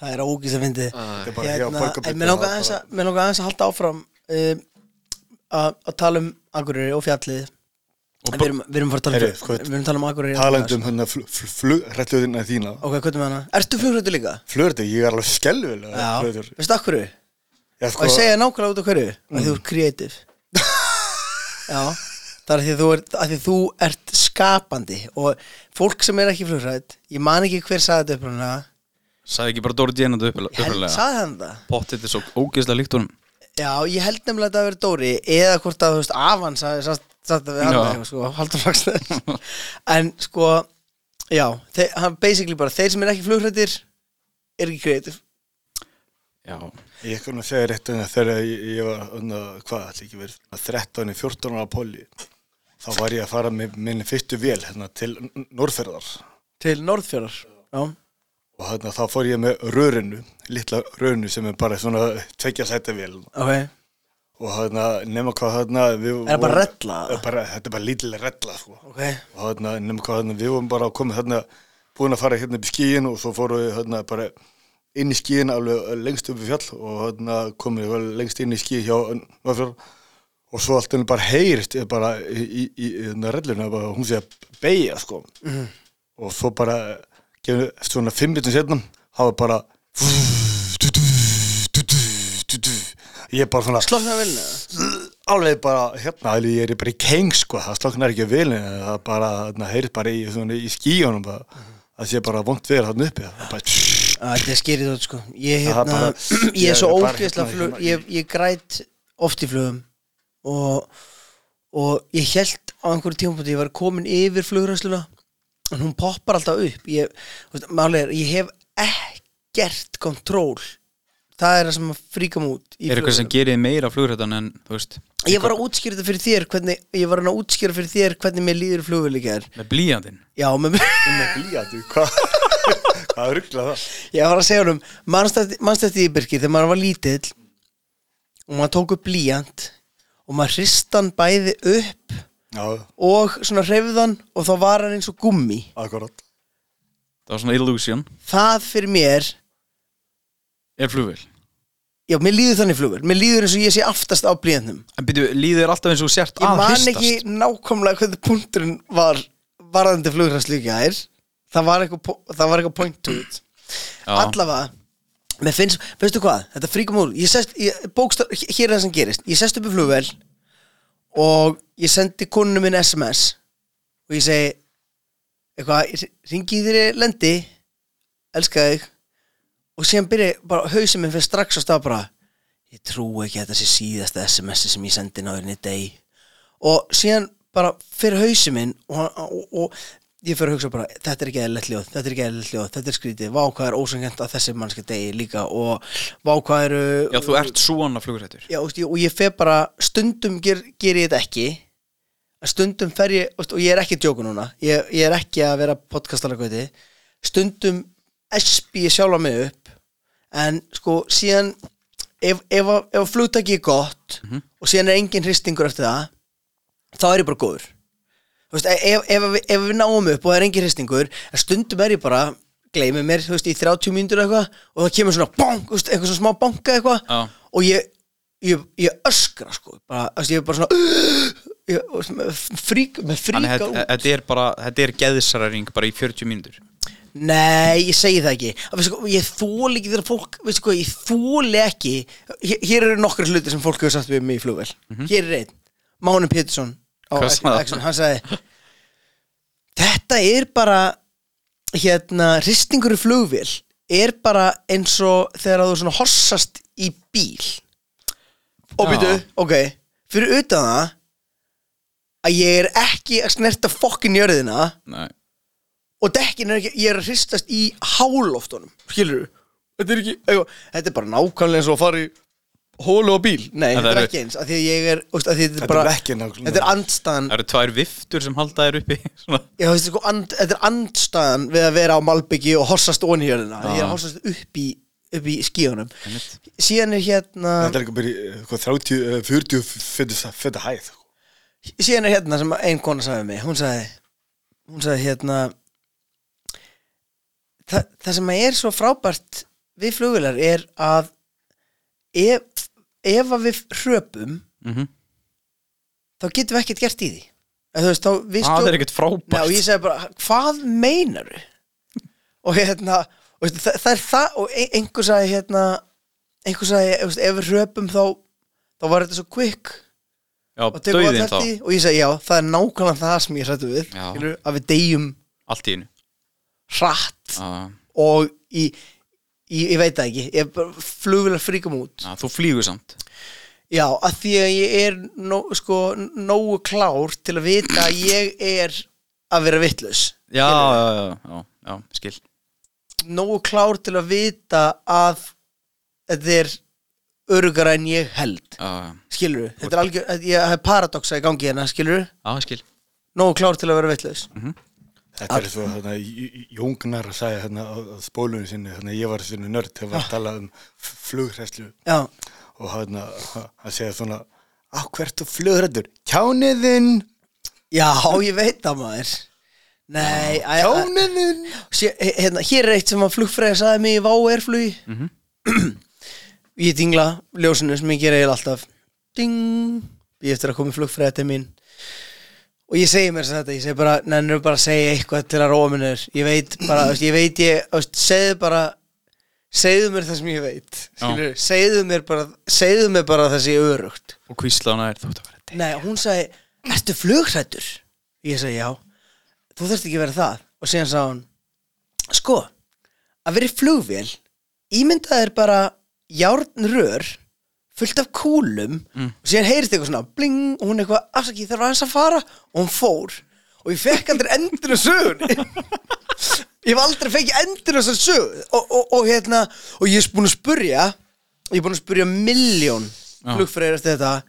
Það er ógis að fyndið
Þetta er Ah, bara hér á
hérna,
Borgarbyggð,
en mér langar
það er
aðeins
bara-
að- mér langar aðeins að halda áfram um, að að tala um Akureyri og fjallið En við erum, við erum fara að tala um
Heyrðu,
fjall-
sko,
við erum að tala um Akureyri
talandi um hérna flugrættuðina þína
ok, hvað er með hana? Ertu flugrættu líka?
flugrættu, ég er alveg skelvilega
Já,
flugrættur
veistu af hverju?
ég
og
sko,
ég segja nákvæmlega út af hverju að þú ert kreatív já, það er að því að þú ert, að því að þú ert skapandi og fólk sem er ekki flugrætt ég man ekki hver sagði þetta upprænlega
Sæði ekki bara Dóri Djenandi uppalega
sagði hann það?
Pottið er svo ógeðslega líkt honum
Já, ég held nefnilega að þetta hafi verið Dóri eða hvort að, þú veist, Avan sagði satt, satt að við hann
Já.
eitthvað, sko, haldur fagstæð en, sko, já þeir, hann basically bara, þeir sem er ekki flugrættir er ekki kreatív
Já
ég er konar að segja rétt hérna, þegar ég, ég var hérna, hvað, ætli ekki verið svona 13, 14 ára poli þá var ég að fara með minni fyrstu vél hérna, til Norðferðar
til Norðfjörðar Já,
og þarna, þá fór ég með rörinu, litla rörinu sem er bara svona tvekja sæta vel
ok Er
og þarna, nema hvað þarna við
það bara
vorum-
rella?
Það er bara, þetta er bara lítilega rella sko.
Ok,
og þarna, nema hvað þarna, við vorum bara að koma þarna, búin að fara hérna upp í skíin og svo fórum við þarna bara inn í skíin alveg eh, lengst upp í fjall og þarna komum við vel lengst inn í skíin hjá Norðfjörn og svo allt henni bara heyrist eh, bara í, í, í, í þarna relluna bara, hún sé að beigja sko og svo bara gefum við eftir svona fimm minnum setnum hafa bara ég er bara svona
sloknaði vilna
alveg bara hérna alveg ég er bara í keng sko það sloknar ekki vilin það er bara hérna heyrist bara í, svona, í skíunum bara það sé bara vond verið þarna uppi það er bara
Æ, Þetta er skerið þótt sko [CLEARS THROAT] Ég,
Það er
hérna,
bara-
ég er svo
ég er bara
ógeðslega
hérna,
flug
hérna,
ég, ég græt oft í flugum og, og ég held á einhverju tímapunkti ég var komin yfir flugræsluna en hún poppar alltaf upp ég, þú veist, máli er, ég hef ekkert kontról það er það sem að fríka mút
Er eitthvað sem gerir þig meira flugrættan en þú veist
Ég var að útskýra þetta fyrir þér hvernig, ég var að útskýra fyrir þér hvernig mér líður flugvöldið er
Með blíjandinn
Já, með
með blíjandi hvað hvað [LAUGHS] ruggla það
Ég var að segja honum, mannst eftir í Birkir þegar maður var lítill og maður tók upp blíjant og maður hrist hann bæði upp
já,
og svona hreyfðan og þá var hann eins og gummi
akkurat
Það var svona illusion
Það fyrir mér,
Er flugvél
já, mér líður þannig flugur mér líður eins og ég sé aftast á blíjantnum
En byrju, líðið er alltaf eins og þú sért
Ég
að
man
hristast
ekki nákvæmlega hvernig punkturinn var varðandi flugræst líka þær Það var eitthvað, po- það var eitthvað point to it
Já.
Allavega Mér finnst, veistu hvað, þetta fríkum úr Ég sest, ég, bókstar, hér er það sem gerist Ég sest upp í flugvél og ég sendi konunum minn SMS og ég segi eitthvað, ringi þér ég lendi elska þig og síðan byrja, bara hausinn minn fyrir strax og stað bara, ég trú ekki að þetta sé síðasta SMS -ið sem ég sendi náðurinn í deg og síðan bara fyrir hausinn minn og, hann- og, og ég fyrir að hugsa bara þetta er ekki eðlilegt ljóð, þetta er ekki eðlilegt ljóð þetta er skrítið, vá hvað er ósangjönd að þessi mannski degi líka og vá hvað eru
Já, þú ert svona flugrættur
Já, veist, ég- og ég fer bara, stundum ger, ger ég þetta ekki en stundum fer ég, veist, og ég er ekki að djóka núna ég, ég er ekki að vera podcastalegauti stundum espi ég sjálfa mig upp en sko, síðan ef, ef, að- ef að flugtaki er gott og síðan er engin hristingur eftir það þá er ég bara góður Þú veist, e, ef, ef, ef, ef við náum upp og það er engin hristingur en stundum er ég bara gleymi mér þú veist, í 30 mínútur eða eitthvað og það kemur svona bong, þú veist, eitthvað svona smá banka eitthvað
Já.
og ég, ég, ég öskra sko, bara, þú veist, ég er bara svona [GASPS] ég, þú veist, með frík, með
Þannig
fríka
að
út
þetta- þetta er bara, þetta er geðsaræring bara í 40 mínútur
Nei, ég segi það ekki Að veistu, hvað, Ég þóli ekki þegar fólk veistu, hvað, Ég þóli ekki Hér- Hér eru nokkra hluti sem fólk hefur sagt við mig í flugvel Hér er einn, Máni Pétursson á
Mhm. Hvað
Action-
sagði hann?
Action, Hann sagði Þetta er bara Hérna, hristingur í flugvél Er bara eins og Þegar þú svona hossast í bíl Og
Já.
býtu, ok Fyrir utan það Að ég er ekki að snerta fokkin jörðina
Nei.
og dekkin er ekki, ég er að hristast í háloftunum, skilur þetta er ekki, eitthvað, þetta er bara nákvæmlega eins og að fara í hólu á bíl nei,
En
þetta
það
er
eru-
ekki eins, af því að ég er úst, að því að þetta
Þetta
er bara,
er ekki nákvæmlega.
þetta er andstaðan
Það eru tvær viftur sem halda þér uppi [LAUGHS] svona.
já, þetta, er sko, and, þetta er andstaðan við að vera á Malbyggi og hossast onni hérna, ég er að hossast upp í upp í skíunum síðan er hérna
Þetta er ekki bara í, eh, hvað, 30, eh, 40 fyrir þetta hæð sko.
síðan er hérna sem ein kona sagði við mig hún sagði, hún sagði hérna það, það sem er svo frábært við flugvilar er að ef, ef að við hröpum
Mhm.
þá getum við ekkert gert í því Eða þú veist, þá við
Það er
stjórn-
ekkert
Nei, og
frábært
ég segi bara, hvað meinar og hérna og veistu, það, það er það og ein- einhver sagði hérna einhver sagði, þú veist, ef við hröpum þá þá var þetta svo quick
Já,
og tekur að
döiðin þá,
þerti og ég segi já, það er nákvæmlega það sem ég hrættu við
Já.
skilur, að við deyjum
allt í einu
hratt
Já,
og í, í, ég veit það ekki ég bara flugvilega fríkum út
já, Þú flýgur samt
já, að því að ég er nó, sko, nógu klár til að vita að ég er að vera vitlaus
Já, já, já, já, já, skil
nógu klár til að vita að þetta er örugara en ég held
Já, já,
skilur, þetta er algjör þetta- ég hef paradoksa í gangi hérna, skilur
já, skil
nógu klár til að vera vitlaus
Mhm.
Þetta er svo, hérna, J- Jóngnar sagði hérna á, á spólunum sinni, hérna, ég var sinni nörd þegar var að tala um flughræslu
já,
og hérna, hann segja svona, á hvert og flugrættur, kjániðinn,
Já, ég veit það maður Nei, æ, æ,
kjániðinn.
sé, hérna, hér er eitt sem að flugfræði sagði mig í váerflugi mm -hmm. [CLEARS THROAT] Ég dingla ljósinu sem ég gera eiginlega alltaf Ding, ég eftir að koma flugfræði til mín Og ég segi mér sem þetta, ég segi bara, nennir bara að segja eitthvað til að róa minnur Ég veit bara, þú veist, ég veit ég, þú veist, segðu bara, segðu mér það sem ég veit Skilur, segðu mér bara, segðu mér bara það sé örugt
Og hvíslana er þú ert að vera
Nei, hún sagði, ertu flugrættur? Ég sagði, já, þú þurft ekki að vera það Og síðan sagði hún, sko, að vera í flugvél Ímyndað er bara járnrör fullt af kúlum Og síðan heyrist eitthvað svona, bling Og hún eitthvað, afsakið, ég þarf aðeins að fara Og hún fór Og ég fekk aldrei endur að sögunni Ég hef aldrei fengið endur þessar sög og, og, og hérna Og ég er búin að spurja Ég er búin að spurja miljón
Já.
flugfræðir eftir þetta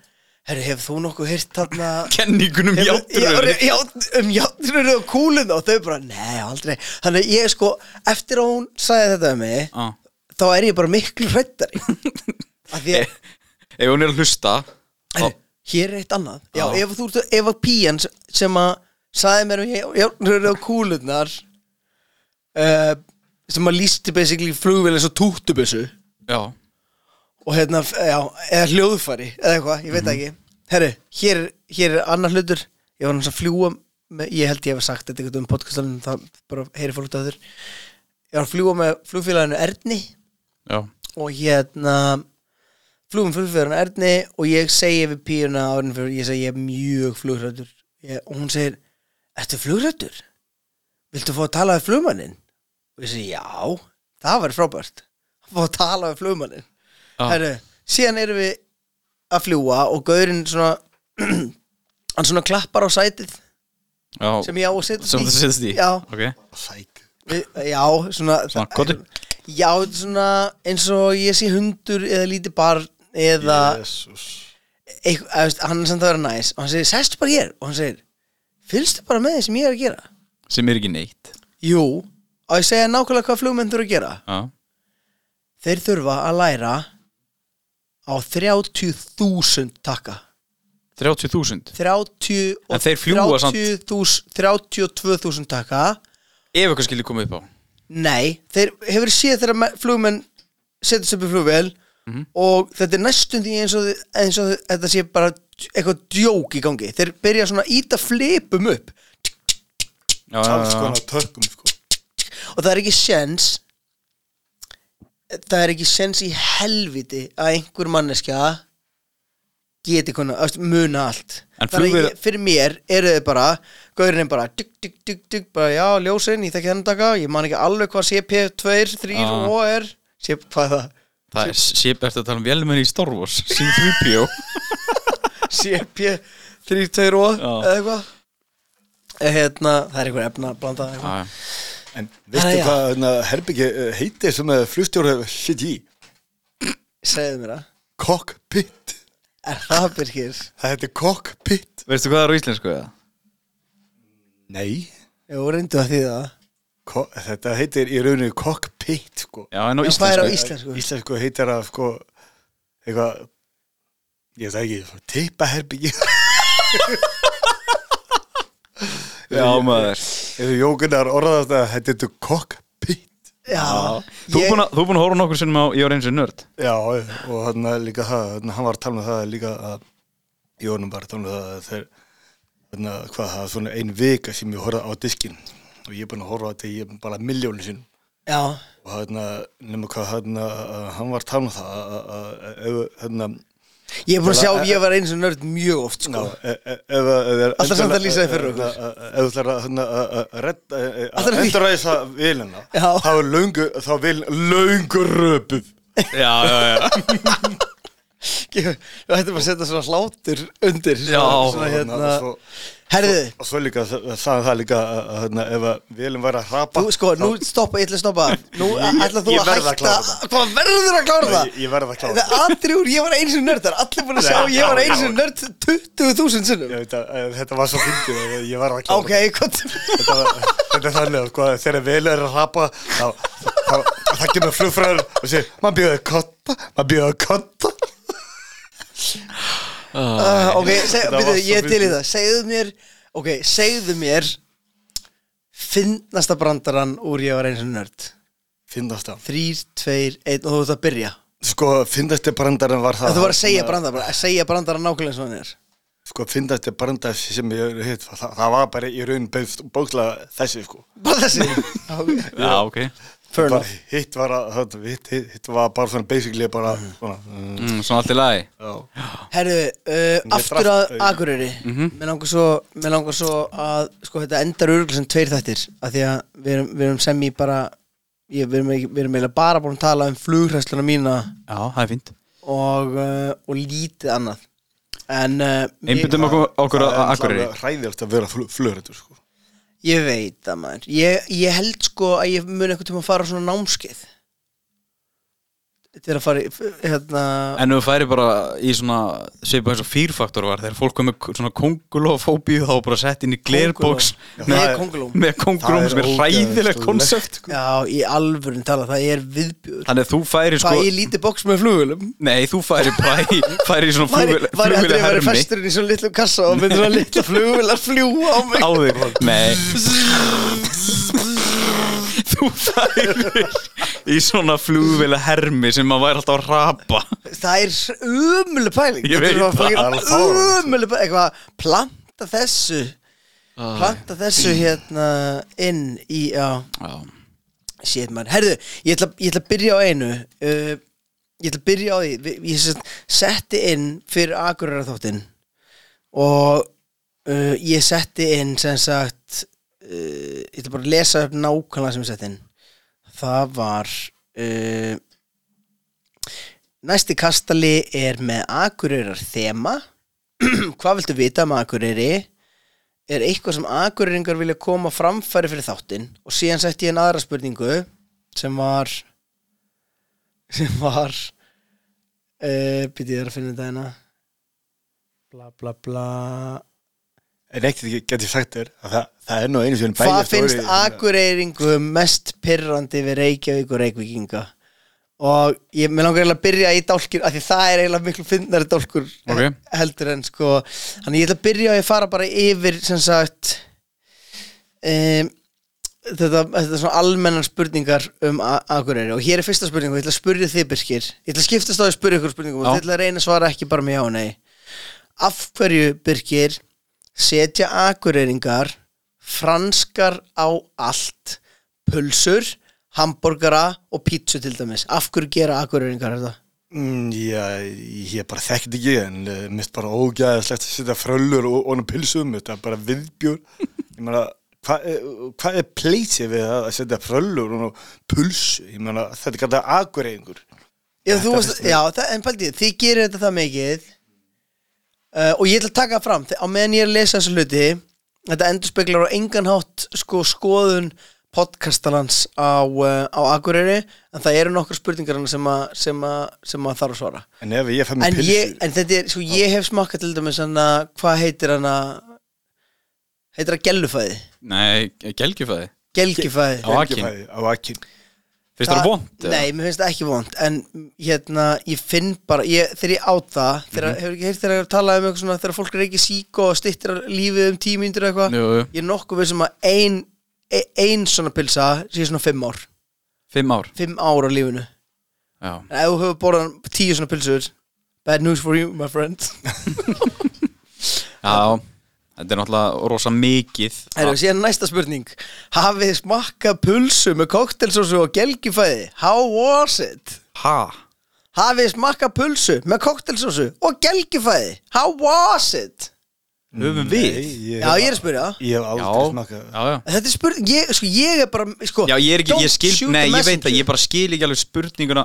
Herri, hefur þú nokkuð hýrt þarna
Kenningunum
Hefur-
játtur
Já, já, Um játtröður og kúlun Og þau bara, nei, aldrei Þannig að ég sko, eftir að hún sagði þetta um mig
Já.
Þá er ég bara miklu hrættari Af því að,
Ef hún er að hlusta þá-
herri, hér er eitt annað Já,
Eh, Já.
ef þú ert, ef að pían sem- sem að sagði mér um játtröður og kúlunar uh, sem að lísti basically flugvél eins og túttubessu
Já,
og hérna, f- já, eða hljóðfæri eða eitthvað, ég veit það ekki Herru, hér, er- hér er annar hlutur ég var náttúrulega að fljúa með, ég held ég hef sagt þetta eitthvað um podcastanum, það bara heyri fólk það þurr ég var að fljúa með flugfélaginu Erni
já,
og hérna fljúum flugfélaginu Erni og ég segi við píuna árin fyrir, ég segi ég er mjög flugrættur ég, og hún segir, ertu flugrættur? Viltu fá að tala við flugmannin? og ég segi, já, það var frábært að fá að tala við flugmannin
já,
Herru, síðan erum við að fljúa og gaurinn svona [CLEARS THROAT] hann svona klappar á sætið
já
sem ég á að setja
Sem það setjast í
Já,
Ok,
Sæk.
við, já svona,
Svona, kottu.
Já, þetta er svona eins og ég sé hundur eða lítið barn eða
Jésús.
eitthvað, eða, veist, hann er samt að vera næs og hann segir, sestu bara hér og hann segir, fylgstu bara með því sem ég er að gera
sem er ekki neitt
Jú, og ég segja nákvæmlega hvað flugmenn þurfa að gera
Já,
Þeir þurfa að læra á 30.000 takka
30.000
30 og-
En þeir fljúga samt.
30.000 32.000 taka
Ef eitthvað skilur komið upp á
Nei, þeir hefur séð þegar me- flugmenn setja sig upp í flugvél
Mhm.
og þetta er næstum því eins og, þi- eins og þi- þetta sé bara d- eitthvað djók í gangi þeir byrja svona að íta flipum upp
já, já,
alls
já,
konar tökum sko.
og það er ekki sens það er ekki sens í helviti að einhver manneskja geti konar, öst, muna allt
En
þannig að
flugvél-
ég- fyrir mér eru þau bara gaurinn er bara dygg, dygg, dygg, dygg bara já, ljósin, ég þekki þennan daga ég man ekki alveg hvað CP 2, 3
Já.
og er CP, hvað er
Það er sip eftir að tala um velmenni í Star Wars C-3PO
það CP 3, 2 og
Já.
eða eitthvað hérna, það er einhver efna að blanda eitthvað.
Já, já.
en
Jæja.
veistu hvað hérna, herbyggi heiti sem eh, flugstjóri sitt í
segðu mér það,
cockpit
er það Birgir?
það heitir cockpit
Veistu hvað það er á íslensku eða?
nei,
Jú, reyndu að því það
ko- þetta heitir í rauninu cockpit sko.
Já, en á
En hvað er á
íslensku
íslensku?
íslensku heitir að sko eitthvað ég veit það ekki, [LAUGHS] teipaherbyggi
Já, maður
eða jókunar orðast að þetta heitir cockpit
Já,
Þú er búin að- þú er búin að horfa nokkur sinnum á Ég var eins og nörd
já og hann líka það þarna, hann var að tala um það líka að Jónum var að tala um það að þeir þarna, hvað það er svona ein vika sem ég horfði á diskin og ég er búin að horfa á þetta ég er bara miljónu sinn
Já,
og þarna nema hvað þarna að hann var að tala um það að- að- að- að- ef þarna
ég er búin að
Til að-
sjá, ég var eins og nörd mjög oft sko.
Já, e- e- ef að
Alltaf samt að lýsa því fyrir okkur.
Ef þú ætlar að hérna, að- að- að redda- e, að-
Alltaf
að
því.
endurræsa vilina
Já.
þá er löngu þá vil löngu röpuð
Já, já, já
Ég Þú ætti bara að setja svona hlátur undir svona-
Já.
svona, hérna.
og svo,
Herðu,
og svo líka sa- sagði það líka að- að hérna, ef að vilin var að hrapa
þú sko, nú stoppa, ég ætla að stoppa Nú
Ég-
ætla þú
ég
að
verð að
hætta
klára það.
Hvað verður að klára það?
Ég- ég verð að klára
það Andri úr, ég var eins og nörd Það er allir búin að sjá,
Nei,
ég var
já,
eins og
já.
nörd 20.000 sinnum
Ég veit að, að þetta var svo fyndið að ég var að klára
Ok, hvað
þetta, var- þetta er þannig að sko, að þegar vilin er að hrapa þá, þá, þá, þá kemur flugfræður og segir maður býðaði kotta maður býðaði kotta
Ah, Ok, seg,
Þetta var
byrju,
svo
ég til í
fyndið.
það Segðu mér, ok, segðu mér Finnasta brandarann úr ég var eins og nörd
finnast það
Þrýr, tveir, einn og þú ert að byrja
sko finnasti brandarinn var það Hérna,
Þú var að segja brandar, bara að segja brandar nákvæmlega eins og hann er
sko fyndasti brandar sem ég hef hitt það, það var bara í raun bókla þessi sko
Bara
[LAUGHS]
þessi
Já, ok
Fair
bara,
enough
hitt var að, það, hitt, hitt, hitt var bara svona basically bara svona mm,
mm, Svona allt í lagi
já.
Herru, uh,
Mér
aftur
drast
að
augun.
Akureyri Mér langar svo, mér langar svo að sko þetta endar örgulega sem tveir þættir af því að við erum, við erum sem í bara ég, við, erum, ekki- við erum eiginlega bara búin að tala um flughræsluna mína
Já, það er fínt
og, uh, og lítið annað En uh, ég,
Einbyttum okkur, okkur að Akureyri
ræðilegt að vera flöðrættur sko.
ég veit það maður ég, ég held sko að ég mun eitthvað tíma að fara á svona námskeið Til að fara í, f- hérna
En ef þú færi bara í svona svipað eins og fýrfaktor var þegar fólk kom með k- svona kongulofóbíu þá var bara sett inn í glerboks
Kónguló.
Já, það
Nei,
er-
kongulóm
með kongulóm
Það er
sem er
ógeðslegt
hræðilegt
lekt.
konsept sko.
Já, í alvöru tala, það er viðbjöður
Þannig að þú færi sko
Hvað, ég lítið boks með flugulum?
Nei, þú færi bara í, færi í svona
Væri
flugul-
væri aldrei
flugulega
að vera
hermi
festurinn í svona litlum kassa og myndir að litla flugular fljúa á mig
á þig Nei Þú færi í svona flugvila hermi sem maður væri alltaf að rapa
Það er umuleg pæling
Ég veit það.
það
Það er alveg fáránlegt.
Umuleg pæling, eitthvað, planta þessu
Ah.
Planta þessu hérna inn í, já,
Já,
shit maður Herðu, ég ætla, ég ætla að byrja á einu uh, Ég ætla að byrja á því Vi- Ég sem sagt setti inn fyrir Akureyra þáttinn Og uh, ég setti inn sem sagt uh, Ég ætla bara að lesa upp nákvæmlega sem ég setti inn Það var uh, Næsti kastali er með Akureyrar þema [CLEARS THROAT] Hvað viltu vita um Akureyri? er eitthvað sem akureyringar vilja koma á framfæri fyrir þáttinn og síðan setti ég einn aðra spurningu sem var sem var uh, býtti ég er að finna þetta hérna bla bla bla
en eitt get ég sagt þér að það, það er nú einu sinni
hvað
bæjarstjóri-
finnst akureyringum mest pyrrandi við Reykjavík og Reykvíkinga og ég með langar eiginlega að byrja í dálkur af því það er eiginlega miklu fyndnari dálkur
Ok.
heldur en sko þannig ég ætla að byrja að ég fara bara yfir sem sagt um, þetta, þetta er svona almennar spurningar um A- Akureyri og hér er fyrsta spurning og ég ætla að spurja þið Birkir ég ætla að skiptast á því að spurja ykkur spurningum og
Já.
þið ætla að reyna að svara ekki bara með já og nei af hverju Birkir setja akureyringar franskar á allt pulsur, hambúrgara og pítsu til dæmis, af hverju gera akureyringar þetta?
Mm, já, ég bara þekkti ekki en uh, mist bara ógæðislegt að setja fröllur og onum pilsum, þetta er bara
[LAUGHS]
viðbjör ég meina, hvað er, hva er pleysið við að setja fröllur og pulsu, ég meina þetta er kallar akureyðingur
Já, þú
Þetta
veist,
finnst mér-
já það, en paldið, þið gerir þetta það mikið uh, og ég ætla að taka það fram þe- á meðan ég er að lesa þessu hluti þetta endurspeglar á engan hátt sko, skoðun podcastalans á, uh, á Akureyri en það eru nokkar spurningar hana sem, að- sem, að- sem að þarf að svara
en ef ég fæ mér
en,
pilsu
ég, en þetta er, sko, ég hef smakkað til dæmis hana, hvað heitir hana heitir hana gellufæði
Nei, gelgjufæði
gelgifæði
á
Ekki
Akin.
fæ- á akin
Fyrst það vond?
Nei, mér finnst það ekki vond En hérna, ég finn bara ég, Þegar ég át það Þegar, hefur ekki heyrt þegar að tala um eitthvað svona Þegar fólk er ekki sík og stittir lífið um tíu mínútur eða eitthvað
Jú, jú.
Ég er nokkuð við sem að ein, e- ein svona pilsa sé svona fimm ár
Fimm ár
Fimm ár á lífinu
Já,
En ef þú hefur borðan tíu svona pilsur Bad news for you, my friend
já Þetta er náttúrulega rosa mikið
Erum við síðan næsta spurning Hafið þið smakkað pulsu með koktelsósu og gelgjufæði? How was it?
Ha?
Hafið þið smakkað pulsu með koktelsósu og gelgjufæði? How was it?
Höfum við?
ég,
Já, ég er að spyrja
ég hef
Já,
aldrei smakað
já, já
Þetta er spurning, ég, sko, ég er bara sko,
Já, ég er ekki,
don't
ég skil,
shoot the
nei, ég veit
messenger.
að ég bara skil ekki alveg spurninguna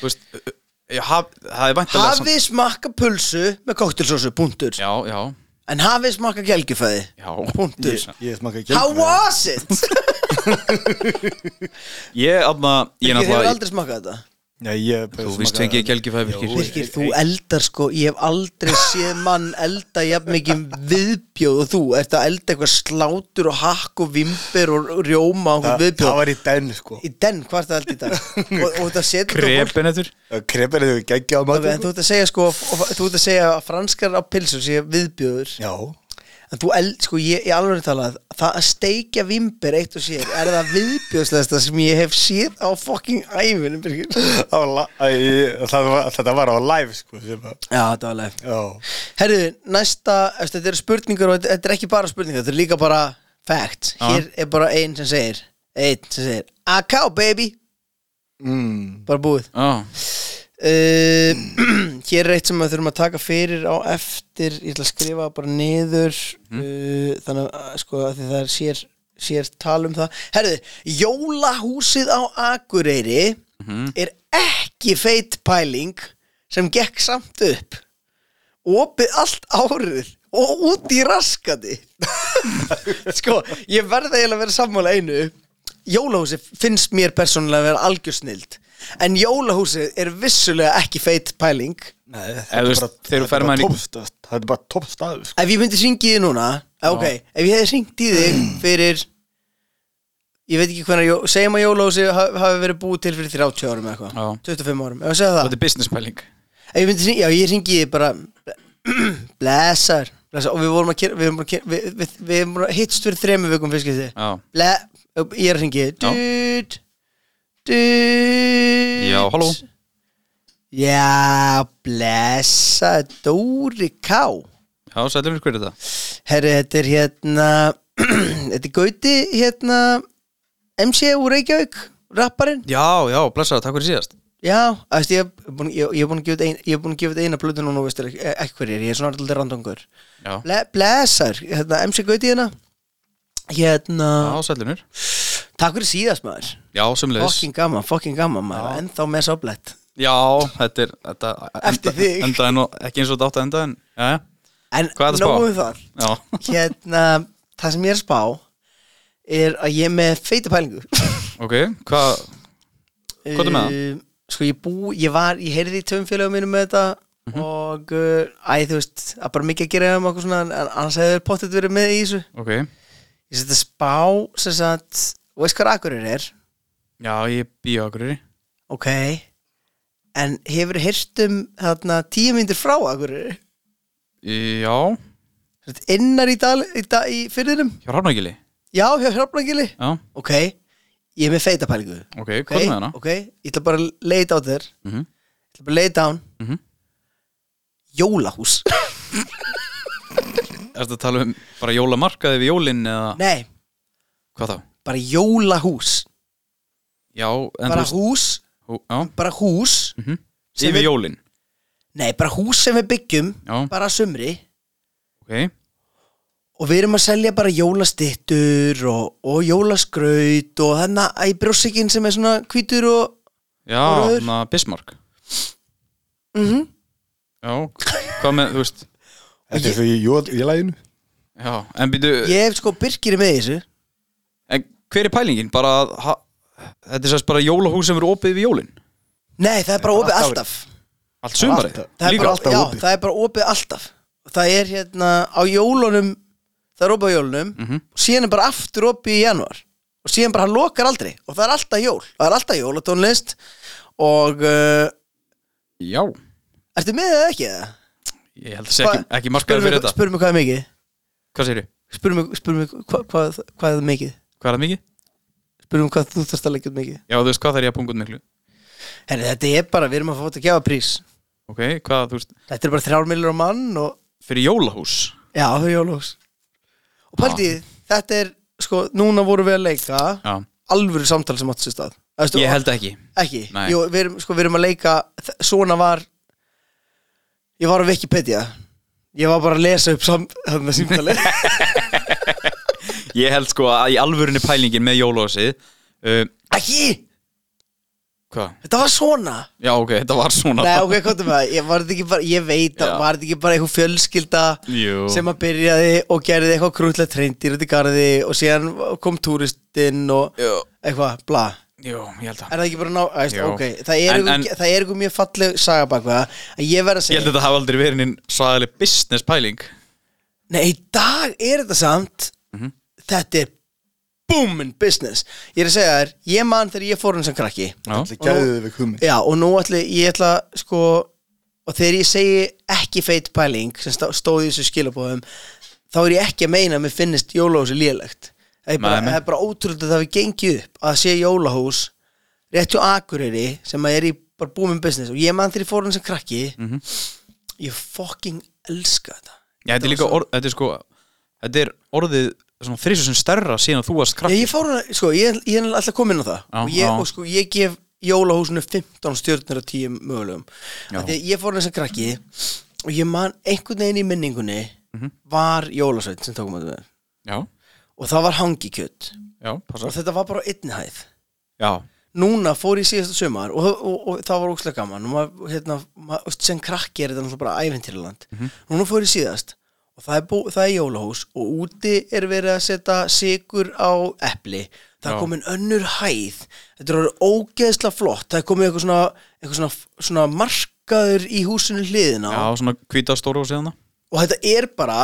Þú veist, ö- ö- ég haf, það er væntalega
Hafið þið smakkað pulsu með koktelsósu, punktur
Já, já,
En hafið þið smakkað gelgjufæði?
já
Punktur.
Ég-
ég hef smakað
How
gelgjubrauð.
was it?
[LAUGHS] Ég, aðna,
Ég
ég
hefur
náttúrulega
aldrei smakað þetta
Já, ég hef bara
Þú víst
smakkað-
fengið gelgjufæði
Jú,
virkir
Birgir, þú eldar sko, ég hef aldrei séð mann elda jafn mikið viðbjóð og þú ert að elda eitthvað slátur og hakk og vimber og rjóma og einhvern
það, það
viðbjóð
var í den sko
í den, hvað ert að elda í dag og, og þetta setur þú fólk
Krepin eftir
krepar hefur geggjað á
en
matur
þú ert að segja sko, og, og, þú ert að segja að franskar á pilsur sé viðbjóður
já,
en þú eld, sko, ég, ég alveg talað það að steikja vimber eitt og sér er það viðbjóðslegasta sem ég hef séð á fucking æfinu, Birgir já,
Á la- æ, það var- þetta var á live sko sem að-
þetta var leið
já
Herðu, næsta, eftir, þetta eru spurningar og þetta- þetta er ekki bara spurningar, þetta er líka bara facts.
Já.
Hér er bara einn sem segir, einn sem segir, AK baby,
Mm,
bara búið.
Já,
Uh, [CLEARS THROAT] hér er eitt sem við þurfum að taka fyrir á eftir, ég ætla að skrifa bara niður, uh, þannig að sko að því það er sér, sér tal um það. Herðu, jólahúsið á Akureyri er ekki feit pæling sem gekk samt upp opið allt árið og út í raskandi [LAUGHS] sko, ég verða eiginlega að vera sammála einu jólahúsi finnst mér persónulega að vera algjörsnild en jólahúsi er vissulega ekki feit pæling
nei, þetta
Eða
er
þú veist,
bara-
þegar þú
þetta er
ferð
bara
maður í-
toppstað- Þetta er bara toppstaður sko.
ef ég myndi syngið þið núna eh, ok, ef ég hefði syngt í þig fyrir ég veit ekki hvernig, segjum að jólahúsi hafi hafi verið búið til fyrir 30 árum eða
Já.
eitthvað 25 árum, ef ég segja það
þetta er business pæling
Ef Ég myndi, syngja- já, ég ringi bara [CLEARS THROAT] Blessar, blessar Og við vorum að kynna Við vorum að, kynna, við, við, við vorum að hittst fyrir þremur vikum fyrst skipti
Já,
Ble, Ég er að ringi Dút Dút
já, halló
Já, blessa Dóri K
Já, sætlum við hverju þetta
Herri, þetta er hérna [CLEARS THROAT] Þetta er Gauti hérna MC úr Reykjavík Rapparinn
Já, já, blessaður, takk fyrir síðast
Já, æst, ég er búin ég- ég er búin að gefa út ein- ég er búin að gefa út eina plötu núna og veist ekki ekki hver er, ég er svona alltaf randungur
Já,
Ble, Blessar, hérna, MC Gauti hérna Hérna,
já sætlumur
takk fyrir síðast maður
Já, sömulegis
Fokkin gaman, fokkin gaman maður Ennþá með sáblett
Já, þetta er þetta,
Eftir
enda-
þig.
Endaði nú, ekki eins og þetta átt að enda en Já, já,
En
Hvað ertu að spá?
nógu um það
já,
Hérna, það sem ég er að spá Er að ég er með feita pælingu
ok, hvað Hvað ertu með það?
[LAUGHS] Um, Sko ég bú, ég var, ég heyrði í tveim félagum mínum með þetta
Mhm.
Og uh, æ, þú veist, að bara mikið að gera um okkur svona En en annars hefði pottet verið með í þessu
Ok,
Ég seti að spá, sem sagt Þú veist hvað rakurinn er?
já, ég býja okkur
Ok en hefur heyrt um þarna tíu myndir frá Akureyri
Já,
Sem sagt, innar í, dal, í, da, í fyrðinum
hjá Hrafnagili
já, hjá Hrafnagili
Já,
ok, ég er með feita pælingu
ok, hvað með hana?
ok, ég ætla bara að leita á þér ég
Mhm.
ætla bara að leita á hann
Mhm.
jólahús
Ertu að tala um bara jólamarkaði við jólinn eða
nei,
hvað þá?
bara jólahús
Já, en
bara
þú
hús,
veist já,
bara hús
mm -hmm.
Sem
Yfir
við-
jólinn,
nei, bara hús sem við byggjum
já,
bara að sumri
ok
og við erum að selja bara jólastittur og, og jólaskraut og þannig að í brjósikin sem er svona hvítur og
Já,
Rauður.
na, Bismarck
mm
Já, hvað með, þú veist
Þetta er því í jól- í læginu
Já, en býtu,
ég hef sko Birkir er með í þessu
en hver er pælingin? Bara, að ha, þetta er sérst bara jólahús sem eru opið við jólinn
nei, það er bara opið
alltaf-
alltaf
Allt sumarið,
Alltaf.
það er
líka
bara,
alltaf
já,
opið.
það er bara opið alltaf það er hérna á jólunum það er opið á jólunum
Mhm.
og síðan er bara aftur opið í januar og síðan bara hann lokar aldrei og það er alltaf jól það er alltaf jólatónlist og uh,
Já,
ertu með það ekki? eða?
ég held að segja ekki, ekki
Spurðu
markaður fyrir
mig-
þetta
spurðu mig hvað er mikið
Hvað segir
spurðu mig, spurðu mig hvað, hvað, hvað er mikið
Hvað er það mikið?
spurðu mig hvað þú þarst að leggja út mikið
Já, þú veist, hvað þarf ég að punga út miklu?
Herri, þetta er bara, við erum að fá þetta að gefa prís
Ok, hvað, þú veist,
þetta er bara þrjár millur á mann og
fyrir jólahús
já, það er jólús og pældi, þetta er, sko, núna vorum við að leika
Já,
alvöru samtal sem átti sér stað Æstu,
ég held ekki
ekki,
Nei.
Jú, við, erum, sko, við erum að leika þ- svona var ég var á Wikipedia ég var bara að lesa upp sam, þarna símtali
[LAUGHS] Ég held sko að í alvörinu pælingin með jólahúsið uh,
ekki,
Hvað?
þetta var svona
Já, ok, þetta var svona
Nei, ok, hvað með það? Ég, var þetta ekki bara, ég veit að
Já.
var þetta ekki bara einhver fjölskylda
Jú,
sem að byrjaði og gerði eitthvað krútlega treyndir út í garði og síðan kom túristinn og
Jú,
eitthvað, bla
jú, ég held að
Er það ekki bara ná, æst,
Jú.
ok Það er
En-
einhver-
en-
það er eitthvað mjög falleg saga bak við það En ég verð að
Ég
segja
held að þetta hafa aldrei verið einn svaðaleg business pæling
Nei, í dag er þetta samt
Mhm.
Þetta er booming business Ég er að segja þér, ég man þegar ég fór hann sem krakki
Já,
Þetta gæðið við kummi
Já, og nú ætli, ég ætla sko og þegar ég segi ekki feit pæling sem stó- stóð í þessu skilabóðum þá er ég ekki að meina að mér finnist jólahúsi lélegt það er bara,
Nei, nei.
það er bara ótrúlega að það við gengið upp að sé jólahús rétt hjá Akureyri sem að er í bara booming business og ég mann þegar ég fór hann sem krakki
Mhm.
ég fucking elska þetta
Já, þetta er líka orð, þetta er sko Þetta er orðið svona þrísu sem stærra síðan þú varst
Já,
krakki
ég fór hann, sko, ég, ég er alltaf komin á það
Já,
og, ég,
já.
og sko, ég gef jólahúsinu 15 stjörnur af 10 mögulegum
Já.
Af því að ég fór hann sem krakki og ég man einhvern veginn í minningunni
Mhm.
var jólasveit sem tókum að það
Já,
og það var hangikjöt
já,
og
passa
þetta var bara á einni hæð
Já,
núna fór ég síðasta sumar og, og, og, það var ókslega gaman og maður, hérna, maður, sem krakki er þetta náttúrulega bara æventýraland
Mhm.
núna fór ég síðast og það er, bú, það er jólahús og úti er verið að setja sigur á epli það er
Já.
komin önnur hæð þetta er orðið ógeðslega flott það er komin eitthvað svona, eitthvað svona, svona markaður í húsinu hliðina
já, svona hvítastóru og síðan
og þetta er bara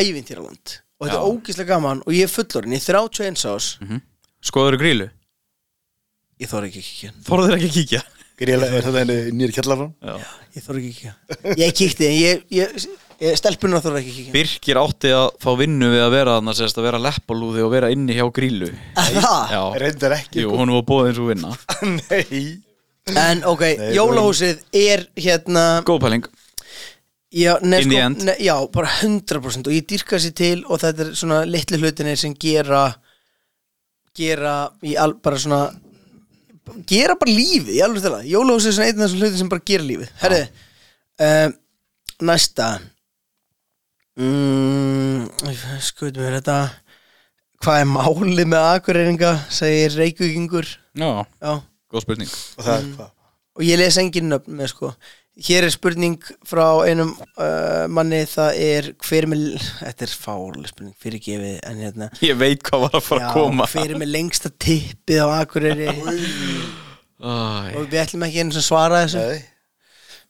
æventýraland og þetta
Já.
er ógeðslega gaman og ég er fullorinn í 31 ás
Skoður grílu
ég þóra ekki ekki hérna
Þorður ekki að kíkja
Gríla er þetta henni nýri kjallarfram
já.
Ég þarf ekki að kíkja [LAUGHS] Ég kíkti en ég, ég, ég stelpuna þarf ekki að kíkja
Birkir átti að fá vinnu við að vera þannig að vera leppalúði og vera inni hjá grílu
Er Það?
Já,
Reyndar ekki sko.
jú, hún var bóðið eins og vinna
[LAUGHS] Nei
En ok,
Nei,
jólahúsið er hérna
Góð pæling
já, nei, sko,
In the end.
nei, já, bara 100% og ég dýrka sér til og þetta er svona litlu hlutinir sem gera gera í al, bara svona gera bara lífið, ég alveg stela jólahúsið er svona einn af þessum hlutin sem bara gera lífið Herri, um, næsta mm, skutum við þetta hvað er málið með akureyringa segir reykvíkingur
Já,
já
góð spurning
Og það er hvað
og ég les engin nöfn með sko hér er spurning frá einum uh, manni það er hver er með þetta er fárlega spurning fyrir gefið en hérna
Ég veit hvað var að fara að koma
hver er með lengsta tippið á Akureyri og
Æ,
við ætlum ekki einu sem svara þessu
Nei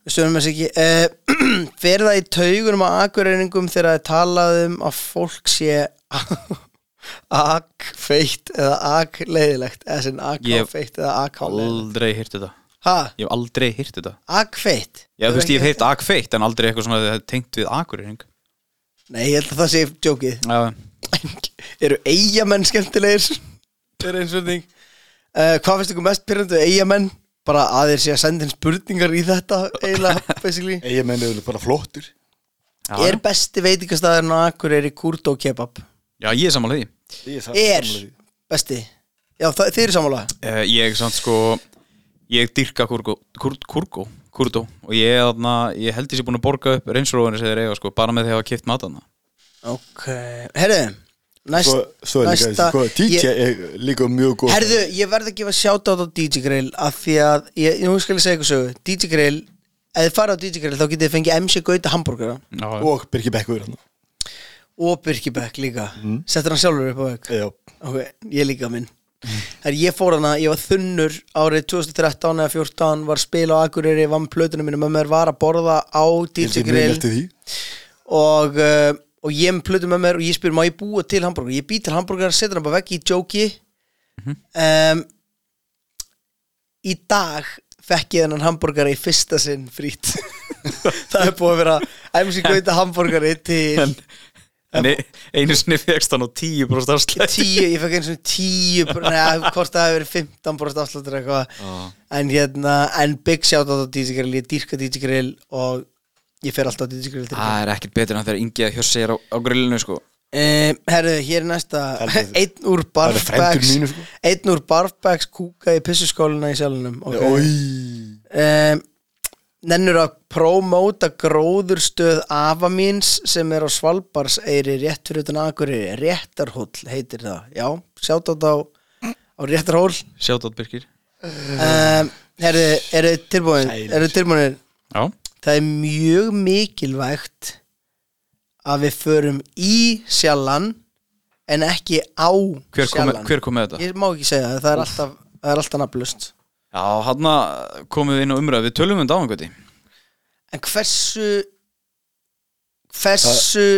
við stöðum þessu ekki uh, [CLEARS THROAT] fer það í taugunum á Akureyringum þegar það er talað um að fólk sé [LAUGHS] akfeitt eða akleiðilegt eða sem
Ég-
akfeitt eða akháleiðilegt
Aldrei hýrti þetta
Ha?
Ég hef aldrei hýrt þetta
Akveitt?
Já, þú veist, ég hef heyrt akveitt en aldrei eitthvað svona tengt við akureyring
Nei, ég held að það sé djókið
Já,
Eru eigamenn skemmtilegir? Það er eins og þing uh, Hvað finnst ykkur mest pyrrandu eigamenn? Bara að þeir sé að senda inn spurningar í þetta eiginlega, basically
Ég menn eru bara flottur
já,
Er besti veitingastæðurinn á Akureyri Kurdo kebab?
já ég er samanlega því
Ég sa-
Er
sammála því.
besti? Já, það, þið eru sammála
Eh, Ég samt sko Ég dyrka kurgo kur, Kurgo? Kurdo Og ég, þarna, ég held ég sé búin að borga upp reynsróðinu sem þeir eiga sko Bara með því að hafa kipt matana
Ok, herðu næst,
Svo, svo er líka,
næsta-
sko, DJ
ég,
er líka mjög góð
Herðu, ég verð að gefa sjáta á DJ Grill af því að, ég, nú skal ég segja ykkur sögu DJ Grill, ef þið fara á DJ Grill þá getið þið fengið MC Gauta hambúrgara
Já,
Og Birgir Bekkur hann
og Birkibæk líka
Mm.
settur hann sjálfur upp á veg
Já,
ok, ég líka minn Her, ég fór hana, ég var þunnur árið 2013 eða 14 var að spila á Akureyri, var með plötunum mínum með mér var að borða á
ég
DJ
sé mjög
Grill
eftir því
og, uh, og ég með plötu með mér og ég spyr má ég búa til hambúrgar ég bý til hambúrgar, setur hann bara vekk í jóki um, í dag fekk ég þennan hambúrgar í fyrsta sinn frýtt [LAUGHS] það er búið að vera æmsi gauta hambúrgari til
En, en e- einu sinni fegst hann á 10% afslætt
tíu, ég fekk eins og tíu neða, hvort það hefur verið 15 brost afsláttur eitthvað
Já.
en hérna, en big shout out á DJ Grill ég dýrka DJ Grill og ég fer alltaf á DJ Grill til
Ah.
Það er ekkert betur en þegar Ingi að hjörsa sér á, á grillinu sko
Um, herru, hér er næsta
Helviti.
Einn úr
Það eru frændur
barfbags
mínir, sko.
Einn úr barfbags kúka í pissuskóluna í sjálfnum okay.
Ói
um, Nennur að prómóta gróðurstöð afa míns sem er á Svalbarseyri rétt fyrir utan Akureyri Réttarhóll heitir það Já, sjátt á á Réttarhóll
Sjátt átt Birkir
um, Herru, eru þið tilbúin?
Sælir.
Eru þið tilbúinir?
Já
það er mjög mikilvægt að við förum í sjallan en ekki á
Hver kom,
sjallan
hver kom með þetta?
ég má ekki segja það, það er alltaf, það er alltaf nafnlust
Já, hann komum við inn á umræð Við tölum um þetta á einhverdi
en hversu hversu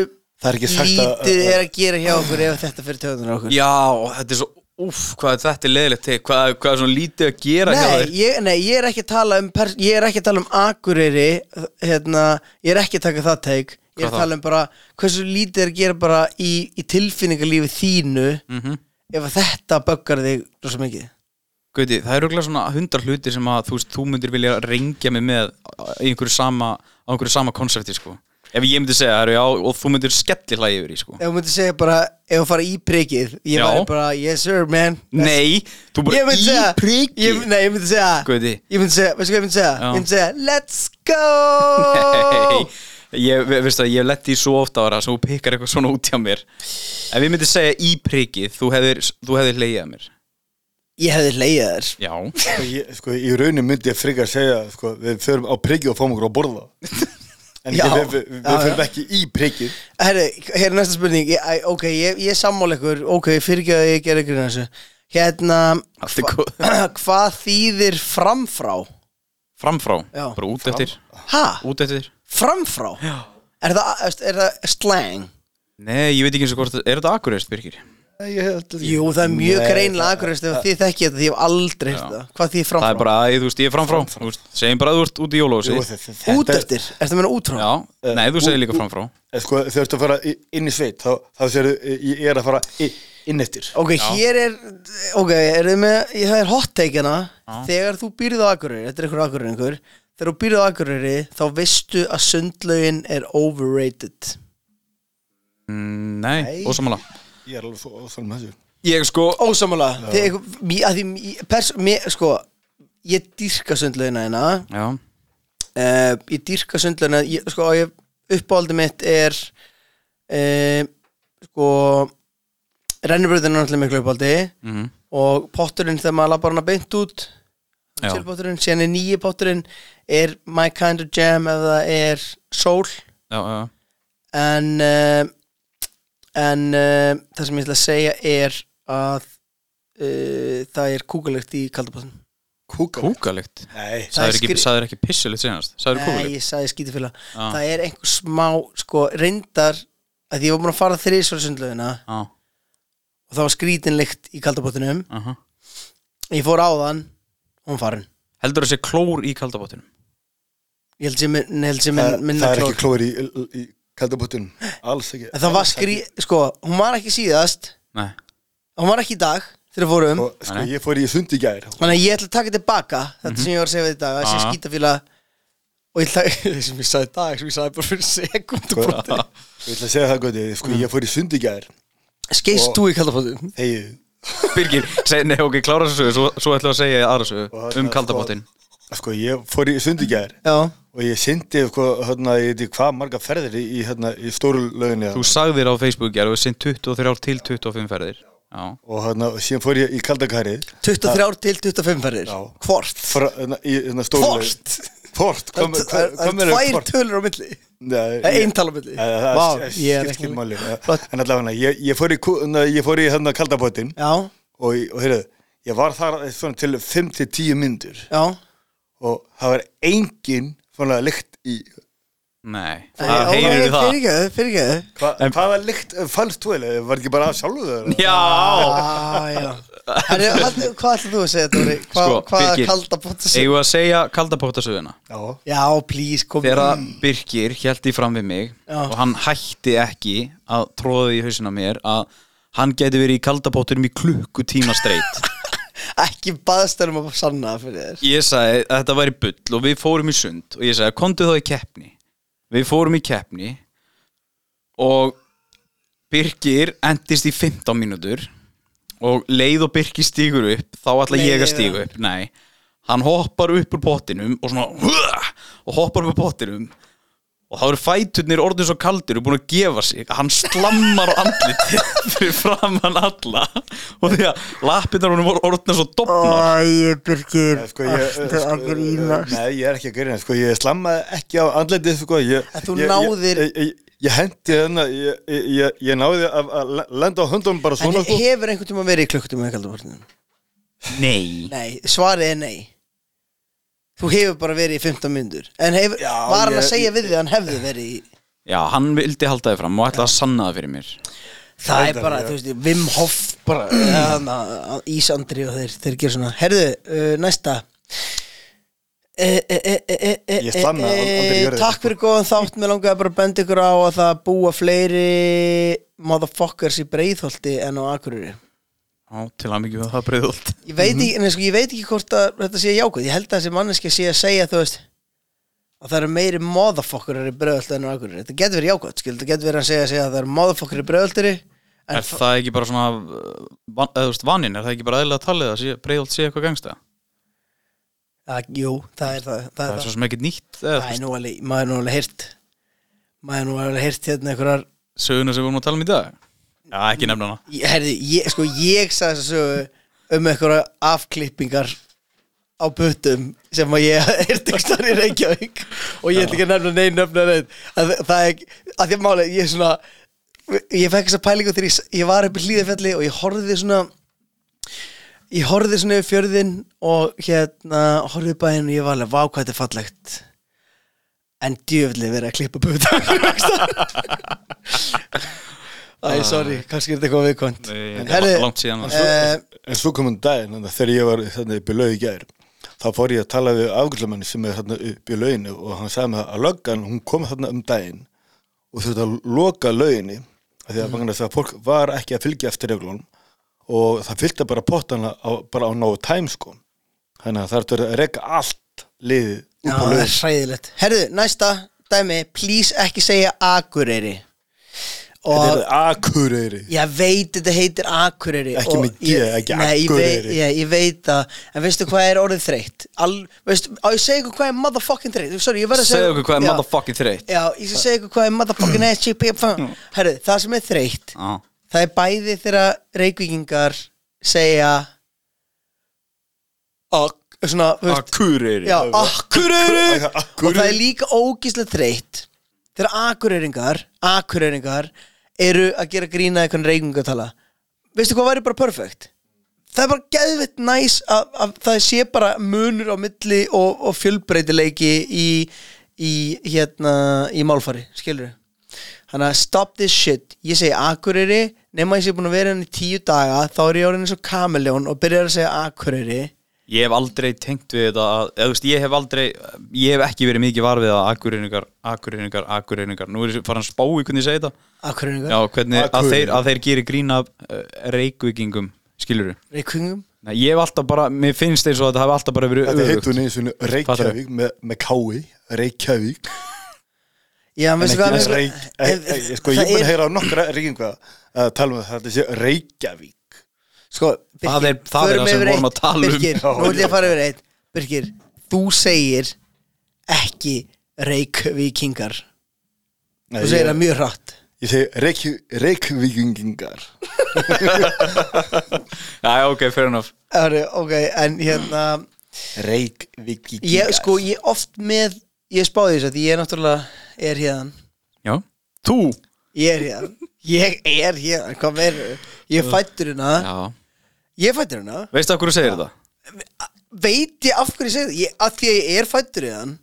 Það er ekki sagt að-
lítið er að gera hjá okkur ef þetta fyrir töðunar okkur
Já, þetta er svo, úff, hvað er þetta er leðilegt til hvað, hvað er svona lítið að gera hjá
Nei
þér
ég, nei, ég er ekki að tala um pers- ég er ekki að tala um akureyri hérna, ég er ekki að taka það teik ég er
Hvað
að
þá?
tala um bara hversu lítið er að gera bara í, í tilfinningalífi þínu
Mhm.
ef að þetta böggar þig rosa mikið
Gauti, það eru örugglega svona hundar hluti sem að þú, veist, þú myndir vilja rengja mig með á- í einhverju sama, á einhverju sama konsepti sko. Ef ég myndi segja það, eru, já, og þú myndir skelli hlæði yfir í sko.
ef þú myndir segja bara, ef þú fara í prikið ég
Já.
væri bara, yes sir man That's-
Nei, þú
Ég
bara
myndi segja-
í priki
ég, Nei, ég myndi segja
Gauti.
Ég myndi segja, veistu hvað ég myndi segja?
Já.
Ég myndi segja, let's go
[LAUGHS] Nei, ég, ve- veistu að ég letti í svo ofta ára svo þú pikkar eitthvað svona út hjá mér Ef ég myndi segja í prikið, þú hefðir, þú hefðir leiðið mér
Ég hefði leiðið þér
Já,
Sko, ég, sko, í raunin myndi ég frekar segja sko, við förum á priggi og fáum okkur að borða en
Já,
já, við, við, við
já,
förum
já.
ekki í priggi
Herri, hér er næsta spurning ég, æ, Ok, ég, ég sammála ykkur Ok, fyrirgjöðu að ég gerði ykkur þessu Hérna,
Allt er
hva- [CLEARS THROAT] hvað þýðir framfrá?
framfrá,
Já.
bara út eftir
Ha?
Út eftir
Framfrá? Já Er það, er það slang?
Nei, ég veit ekki eins og hvort, er þetta akureyst, Birgir?
Jú, það er mjög greinlega akurist ef þið þekkið þetta, því ég hef aldrei hirt það Hvað því
Það er
framfrá?
bara, æ, þú veist, ég er framfrá, Þú veist, segjum bara að þú ert út í jólósi Já,
Út eftir, er það meina Eh, út frá?
nei, þú segir líka
ú-
framfrá
sko, þau ertu að fara í- inn í sveit þá, þá sérðu, ég er að fara í, inn eftir
Ok, hér er Ok, er þið með, ég- það er hot take hana Þegar þú býrð á Akureyri, þetta er ykkur Akureyri einhver Þegar þú býrð á Akureyri þá veistu að sundlaugin er overrated
Mm, Nei,
Nei.
ósamála
ég er alveg svo, svo með þessu
Ég sko,
Ósamála Þegar, mér- að því, mér- pers, mér, sko Ég dýrka sundlaugina hérna
já,
uh, Ég dýrka sundlaugina ég, Sko, ég, uppáhaldi mitt er uh, Sko Rennibröðin er náttúrulega miklu uppáhaldi
mhm,
og potturinn þegar maður labbar hana beint út
Já.
silpotturinn, síðan er nýji potturinn er My Kind of Jam eða er Soul
já, já, já
en uh, en uh, það sem ég ætla að segja er að uh, það er kúkalegt í kaldabotn
kúka
Kúkalikt
nei,
Það er
Sæður ekki,
skri-
sagðir ekki pissulikt senast Sæður
Nei,
kúkalikt
ég sagði skítifélag
Já.
það er einhver smá, sko, reyndar að ég var búin að fara þriðsvara sundlaugina
Já,
og það var skrítinlegt í kaldabotnum
aha
ég fór á þann og hún farin
heldur það sé klór í kaldabottinum
Ég held sem, nei, held sem
það,
minna
það er
klór.
ekki klór í, í kaldabottunum alls ekki
En það var skrí, sko, hún var ekki síðast
Nei, [LAUGHS]
Hún var ekki í dag þegar við fórum
og sko ég fór í sund í gær
Þannig að ég ætla að taka tilbaka Þetta sem ég var að segja við þetta Þessi
Aha.
skítafíla Og ég ætla að Sem [LAUGHS] ég sagði í dag Sem ég sagði bara fyrir sekundu broti
ég ætla að segja það gott sko ég fór í sund í gær
Skeist
Og-
þú í kaldabóttum?
þegar
Birgir, seg, nei ok, klára þessu sögu, svo, svo ætlum við að segja aðra
Og
sögu
þarna,
um kaldabottin
sko ég fór í sund í gær
Já
og ég syndi sko, hérna, ég veit ekki hvað marga ferðir í, í, hérna, í stóru löginni
Þú sagðir á Facebook gerðu sinn 23 til 25 ferðir Já,
og hérna, síðan fór ég í kaldakarið
23 til 25 ferðir
Já.
Hvort?
frá, hérna, í hérna stóru
Hvort?
Hvort,
Það
kom,
er-
kom,
það
kom
er
mér
tvær tölur á milli
Nei,
Nei,
ég-
ein tala á milli.
Nei, það
Vá,
sk-
ég er
skiptir
ekki-
máli.
Flott.
En allavega, ég, ég fór í, kú- na, ég fór í hérna kaldabótin
Já,
og, og heyrðu, ég var þar svona, til 5-10 myndur
já
og það var engin svona lykt í
nei, það heyrir við það
Fyrirgeðu, fyrirgeðu
Hva, Hvaða lykt fannst þú eða? Var ekki bara af sjálfu það?
Ah.
Já,
Já, já Herri, hvað- Hvað ætlaðu þú að segja, Dóri? Hva,
Sko,
hvaða
Birgir,
kaldabóttum
eigum við að segja kaldabottasöguna
Já,
Já, please, kom
Þegar að Birgir held í fram við mig
Já.
og hann hætti ekki að tróða því í hausina á mér að hann gæti verið í kaldabottinum í klukkutíma streitt
ekki baðst um að sanna það fyrir þér
Ég sagði að þetta væri bull og við fórum í sund og ég sagði komdu þá í keppni Við fórum í keppni og Birgir endist í 15 mínútur og leið og Birgir stígur upp þá ætla
Nei,
ég að
nei,
stígu upp Nei, hann hoppar upp úr pottinum og svona "Hua!" og hoppar upp úr pottinum og þá eru fæturnir orðin svo kaldir og búin að gefa sig að hann slammar á andliti [LAUGHS] fyrir framann alla og því að lappirnar honum voru orðin svo dofnar
Æ, Birgir,
Eh, sko, ég, eh,
ertu að grínast?
Nei, ég er ekki að grínast sko, Ég slammaði ekki á andlitið sko, ég,
En þú
ég-
náðir-
Ég, ég, ég, ég hendi þarna Ég, ég, ég, ég náði að, að lenda á höndum bara
En
svona sko.
hefur einhvern tíma verið í klukkutíma í kaldabóttum?
Nei
Nei, svarið er nei Þú hefur bara verið í 15 myndur En hefur,
Já,
var hann að
ég-
segja
ég-
við þig að hann hefði verið í
Já, hann vildi halda þið fram og ætlaði að sanna það fyrir mér
Það er
Reyndar,
bara,
já.
þú veist, Vim Hof
[CLEARS THROAT]
bara, hana, Ísandri og þeir, þeir gerir svona Herðu, uh, næsta e, e, e, e, e, e,
Ég slanna
e,
al- aldrei í jörðina,
Takk
sko.
fyrir góðan þátt, mér langaði bara að benda ykkur á að það búa fleiri motherfuckers í breiðholti en á Akureyri
Já, til að mikið með það breyðult
Ég veit ekki, en sko, ég veit ekki hvort að þetta sé jákvæð, ég held að þessi manneski sé að segja, þú veist að það eru meiri motherfuckerar í breiðholti en á Akureyri Þetta getur verið jákvæð, skil, þetta getur verið að segja, segja að það eru motherfucker í breiðholtiri
Er það ekki bara svona uh, van, eða, þú veist, vaninn, er það ekki bara eðlilega að talið að breyðult sé eitthvað gangsta?
Það, jú, það er það, það, er
Það er
það.
svo sem ekkert nýtt eða,
Það
þú
er
veist,
nú alveg, maður er nú alveg heyrt maður er nú alveg heyrt hérna einhverjar
söguna sem við vorum að tala um í dag Já, ekki nefna hana
Ég- herði, ég, sko ég sagði þess að sögu um einhverjar afklippingar á puttum sem að ég [LAUGHS] heyrt ekki starf í Reykjavík og ég ætla ekki að nefna neinn nefna neinn að, það- það er, ekki- að því að máli, ég er svona ég fekk þessa pælingu þegar ég, s- ég var upp í hlýðafelli og ég horfði svona ég horfði svona yfir fjörðin og hérna horfði bæinn og ég var alveg, vá hvað þetta er fallegt en djöfli verið að klippa puta [LAUGHS] Æ, sorry, kannski er þetta eitthvað viðkvæmt
Nei,
En
þetta er
herri,
langt síðan.
eh,
En svo komum daginn þannig, að þegar ég var þannig, upp í laug í gær þá fór ég að tala við afgjöldamenni sem er þarna upp í lauginu og hann sagði mér að löggan, hún kom þarna um daginn og þurfti að loka lauginni af því að mm. þess að fólk var ekki að fylgja eftir reglunum og það fylgta bara pottana á, bara á nógu tæm sko þannig að það ertu að reka allt liðið
Já,
upp á
það er
laugin
hræðilegt Herðu, næsta dæmi, please ekki segja Akureyri
Þetta er
Og
akureyri
ég veit þetta heitir Akureyri
Ekki
og
með G,
ég-
ekki
nei, ég
Akureyri.
veit- Ég, ég veit það, en veistu hvað er orðið þreytt Al, veistu, á ég segja ykkur hvað er motherfucking þreytt Sorry, ég verð að segja
Segðu okkur hvað er
Já,
motherfucking þreitt
Já, ég skal segja ykkur hvað er
[CLEARS THROAT]
motherfucking SGP Herðu, það sem er þreytt
Já,
Það er bæði þegar reykvíkingar segja Ak, svona, þú veist,
Akureyri
Já, Akureyri Og
Akureyri.
það er líka ógíslega þreytt Þegar Akureyringar Akureyringar eru að gera grína eitthvað reykingatala Veistu hvað væri bara perfect? Það er bara geðvitt næs að, að það sé bara munur á milli og, og fjölbreytileiki í, í, hérna, í málfari, skilur Þannig að stop this shit Ég segi Akureyri, hérna nema ég sé búin að vera henni í tíu daga þá er ég orðin eins og kameljón og byrjar að segja Akureyri
ég hef aldrei tengt við þetta að, eða, þú veist, ég hef aldrei ég hef ekki verið mikið varfið að akureyringar, akureyringar, akureyringar nú er ég farin að spá í hvernig ég segi þetta
Akureyringar,
Já, hvernig, að,
Akureyri.
þeir, að þeir gerir grína uh, reykvíkingum, skilur við
Reykjöngum
Nei, ég hef alltaf bara, mér finnst eins og þetta hef alltaf bara verið
Þetta
öfugt.
heitur neins svona Reykjavík með, með kái, Reykjavík
Já, veistu
En
hvað
ekki Reykjavík,
Ef-
e, e, sko
það
ég mun
er-
heyra á nokkra reykinga að tala um að þetta sé Reykjavík
Sko,
Það er- það er
förum
það sem
yfir
við
eitt.
vorum að tala um.
Birgir,
Já,
nú ætlum ég
já.
að fara yfir eitt Birgir, þú segir ekki Reykvíkingar
Nei,
Þú segir
ég-
það mjög hratt
Ég segi Reykj, Reykjavíkingingar
Já, já, ok, fair enough
Það er, ok, en hérna
Reykjavíkingar
Ég, sko, ég oft með Ég spáði þess að ég er náttúrulega er hérðan
Já, þú
Ég er hérðan Ég er hérðan, hvað meir Ég er fættur hérna
Já,
Ég er fættur hérna
veistu af hverju segir þetta?
Veit ég af hverju ég segi það? Ég- Af því að ég er fættur hérna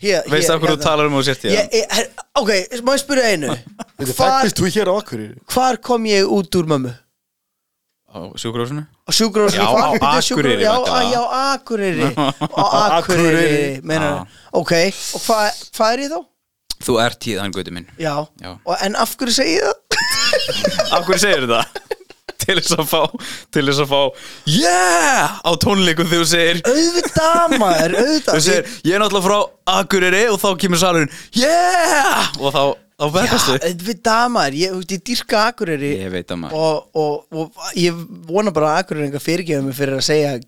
Hér-
Veistu
hér-
af hverju þú
hérna.
talar um og sért
Ég,
ég?
ég, her- ok, má ég spyrja einu
Þetta
Hvar-
fættist þú hér á Akureyri
hvar kom ég út úr mömmu?
Á sjúkrásinu?
Á sjúkrahúsinu
Já,
Hvar
á
byrjuðu
Akureyri,
sjúkrahús- Já,
væntanlega.
á- já, á
[LAUGHS]
Akureyri Á
Akureyri.
Akureyri, meinar Ok, og hvað hva er ég þá?
Þú ert tíðan, guti minn
Já,
Já.
Og, en af hverju segi ég það?
Af hverju segir [LAUGHS] þetta? til þess að fá, til þess að fá Yeah! Á tónleikum þegar þú segir
Auðvitað maður, auðvitað
Þú segir, ég er náttúrulega frá Akureyri og þá kemur salurinn Yeah! Og þá, þá
Já,
verðastu
auðvitað maður, ég, þú veist, ég dýrka Akureyri
Ég veit að maður
og, og, og ég vona bara að Akureyri enga fyrirgefa mig fyrir að segja G,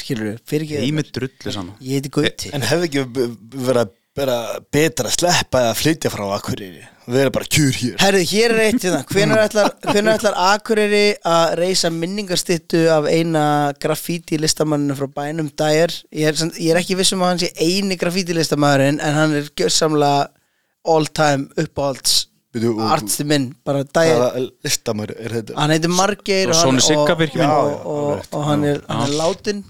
skilur við, fyrirgefa
Ég
mig
með drullu saman
Ég heiti Gauti
En hefði ekki b- b- verið að- verið að betra að sleppa að flytja frá Akureyri Við erum bara kjur hér
Herðu, hér er eitt hérna. Hvenær ætlar, hvenær ætlar Akureyri að reysa minningarstittu af eina graffíti listamanninu frá bænum Dyer? Ég er, samt- ég er ekki viss um að hann sé eini graffíti listamæðurinn en hann er gjörsamlega all time uppáhalds
Bíddu, og-
artsti minn, bara Dyer.
Hvaða listamæri er þetta?
Hann heitir Margeir og,
og
hann-
sonur Sigga
og,
Birkir minn.
og, og, og hann er, hann er látin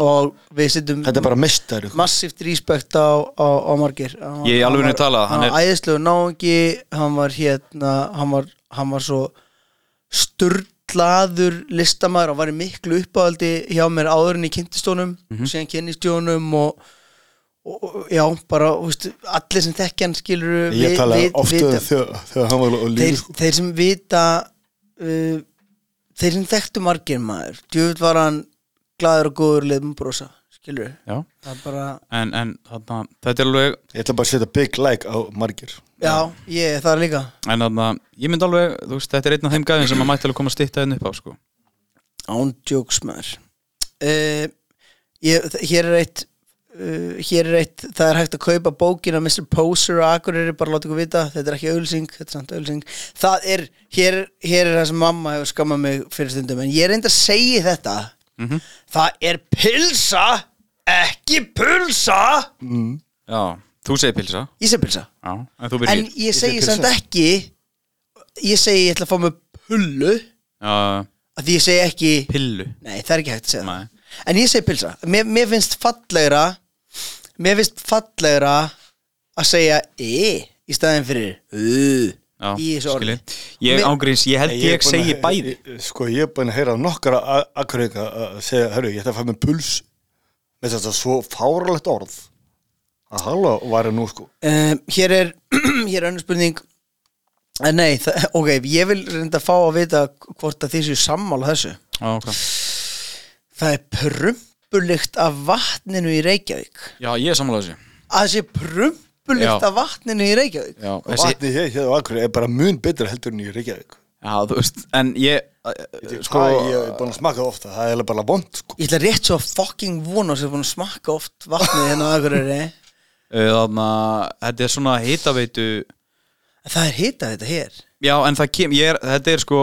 og við sittum
Mhm. Þetta er bara sko. mestari
massíft respekt á, á, á margir hann,
Ég í
hann
alvörunni
var-
talað, hann
hann var æðislegu náungi hann var hérna hann var, hann var svo sturlaður listamaður hann var í miklu uppáhaldi hjá mér áður en í kynntistónum mm
Mhm.
-hmm. síðan kynnistjónum og, og, og já, bara þú veist, allir sem þekkja hann skilur
Ég talaði ofta um þegar þegar hann var á
þeir,
líf sko.
þeir sem vita uh, þeir sem þekktu margir maður djöfull var hann glæður og góður liðum brosa, skilur
Já
það er bara
En, en þarna, þetta er alveg
Ég ætla bara að setja big like á margir
Já, ég, það er líka
En þarna, ég myndi alveg, þú veist, þetta er einn af þeim gæðin sem að mætti alveg koma að stýtta henni upp á, sko
Ándjóks maður uh, ég, þ- Hér er eitt uh, Hér er eitt Það er hægt að kaupa bókina Mr. Poser og Akureyri, bara láta ykkur vita Þetta er ekki ölsing, þetta er samt ölsing Það er, hér, hér er það sem mamma hefur skammað mig fyrir stundum En ég er enda að segja þetta Mhm. Það er pilsa Ekki pulsa Mm.
Já, þú segir pilsa
Ég segi pilsa
Já, en þú
En
byrgir
ég segi
pilsa.
samt ekki Ég segi ég ætla að fá mig pullu
Já,
að Því ég segi ekki
pillu
Nei, það er ekki hægt að segja
Nei.
það En ég segi pilsa Mér, mér finnst fallegra Mér finnst fallegra að segja e í staðin fyrir u
Já,
í þessu orði
skilji. Ég
Mér-
ángríns, ég held ég,
er búinn að-
segi bæði
ég- Sko ég er búin að heyra á nokkara a- akureyringa að segja, hörru, ég ætla að fæ mér puls með þetta svo fáralegt orð að halla var ég nú sko
um, Hér er [CLEARS THROAT] hér er önnur spurning Eh, Nei, það, ok, ég vil reynda að fá að vita hvort að þið séu sammála þessu
Já, ok
Það er prumpulykt af vatninu í Reykjavík
Já, ég er sammála þessu
Að það sé prumpulykt
Já.
af vatninu í Reykjavík
Já,
og
þessi,
vatnið hér, hér á akureyri er bara mun betra heldur en í Reykjavík
já þú veist, en ég eh, Sko,
sko, ég er búin að smaka það ofta, það er eiginlega bara vond sko.
Ég ætla rétt svo að fucking vona sem búin að smakka oft vatnið hérna á Akureyri
eh, þarna, þetta er svona hitaveitu
Það er hitað þetta hér
Já, en það kem, ég er, þetta er sko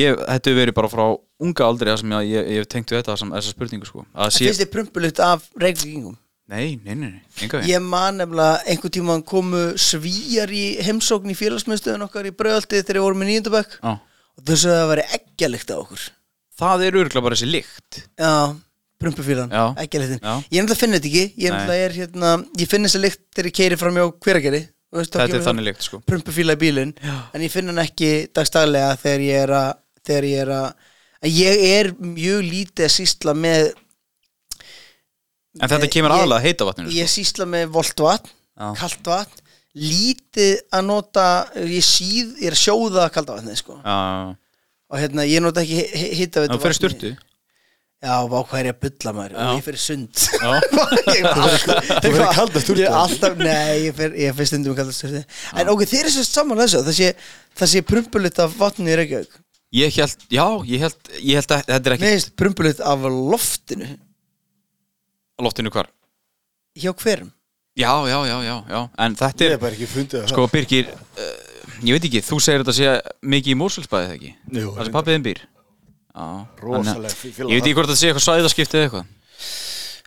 ég, Þetta hefur verið bara frá unga aldri það sem ég, ég, ég hef tengt við þetta, sem- þessa spurningu, sko Að sé,
Finnst þið prumpulut af reykvíkingum?
nei, nei, nei, nei, enga veginn
Ég man nefnilega einhvern tímann komu svíjar í heimsókn í félagsmyndstöðun okkar í bröðaldi þegar við vorum í nýjöndabökk
Já.
og þau sögðu að það væri eggjalikt á okkur
Það er örgulega bara þessi lykt
Já, prumpufílan,
Já.
eggjalitin
Já.
Ég nefnilega finn þetta ekki, ég nefnilega er hérna ég finn þessa lykt þegar ég keiri fram hjá hveragerði
Þetta er þannig lykt, sko
prumpufíla í bílinn en ég finn hann ekki dagstaglega þegar ég er að þegar ég er að en ég er mjög lítið að sýsla með
En þetta kemur
Ég-
aðalega að heita vatninu sko.
Ég sýsla með voltvatn,
Já.
kalt vatn lítið að nota ég síð, ég er að sjóða kalda vatni sko.
Já,
og hérna, ég nota ekki hitta
það fyrir styrtu
Já, vá, hvað er ég að bulla maður
Já.
og ég fyrir sund [LAUGHS]
Já.
Ég er alltaf-
Þú fer í kalda sturtu?
Ég er alltaf, nei, ég fyrir, ég fyrir stundum að kalda sturtu En ok, þeir eru svo saman þessu það sé, það sé prumpulit af vatni í Reykjavík
Ég held, já, ég held, ég held að þetta er
Mér
ekki
finnst prumpulit af loftinu
loftinu hvar
hjá hverum
Já, já, já, já, já En þetta
Ég
er,
hef bara ekki fundið það
sko Birgir uh, Ég veit ekki, þú segir þetta sé mikið í Mósulsbæði ekki
Jú,
Það sem
reyndar.
pappiðin býr Já, þannig
Rosalega
að-
fí- fíla
Ég veit ekki hvort það sé eitthvað svæðaskipti eða eitthvað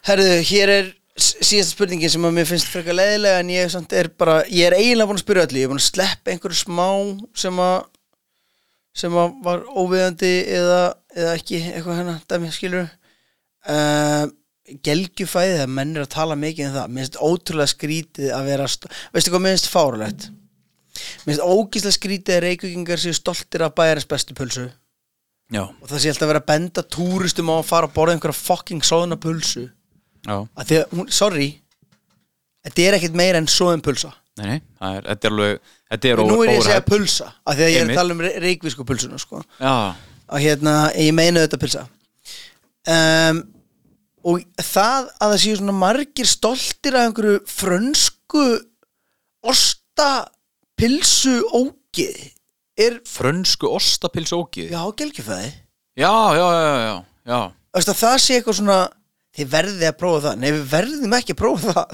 Herðu, hér er s- síðasta spurningin sem að mér finnst frekar leiðilega en ég samt er bara, ég er eiginlega búin að spyrja öllu, ég er búin að sleppa einhverju smá sem að sem að var óviðandi eða, eða ekki eitthvað hérna, dæmi, skilur uh, gelgjufæði þegar menn er að tala mikið um það, mér finnst ótrúlega skrítið að vera, st- veistu hvað mér finnst fárulegt mér finnst ógíslega skrítið að reykvíkingar séu stoltir af bæjarins bestu pulsu
Já,
og það sé alltaf að vera að benda túristum á að fara að borða einhverja fucking soðna pulsu
já,
að því að hún, sorry þetta er ekkert meira en soðin pulsa
nei, nei það er, Þetta er alveg, þetta er
og nú er ég að segja
overhype.
pulsa að því að ég er
Einmitt.
að tala um reikvísku pulsuna sko.
Já,
og hérna, ég meina þetta pulsa um, og það að það séu svona margir stoltir af einhverju frönsku osta pilsu ógið er,
frönsku ostapilsókið
já, gelgjufæði
Já, já, já, já, já.
Veistu að það sé eitthvað svona þið verðið að prófa það, nei við verðum ekki að prófa það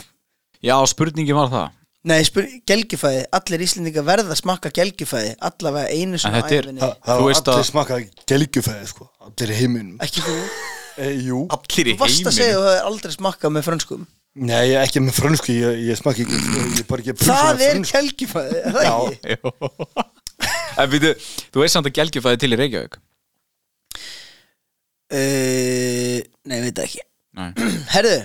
Já, spurningin var það.
Nei, spyr, gelgjufæði, allir Íslendinga verða að smakka gelgjufæði allavega einu svona
þetta er-
ævinni.
Það, það
Þú
var
veist
allir
að-
smakað gelgjufæði sko, allir í heiminum
Ekki þú,
e,
Eh,
Jú,
Allir
þú varst að segja að þú hefur aldrei smakkað með frönskum
nei ekki með frönsku, ég, ég smakki ekki, sko, ég bara ekki pulsu
Það
með
er
frönsku.
gelgjufæði, er það ekki?
En býtu, þú veist samt að gelgjufæði til í Reykjavík.
Uh, nei, ég veit það ekki [CLEARS THROAT]
Nei.
Herðu,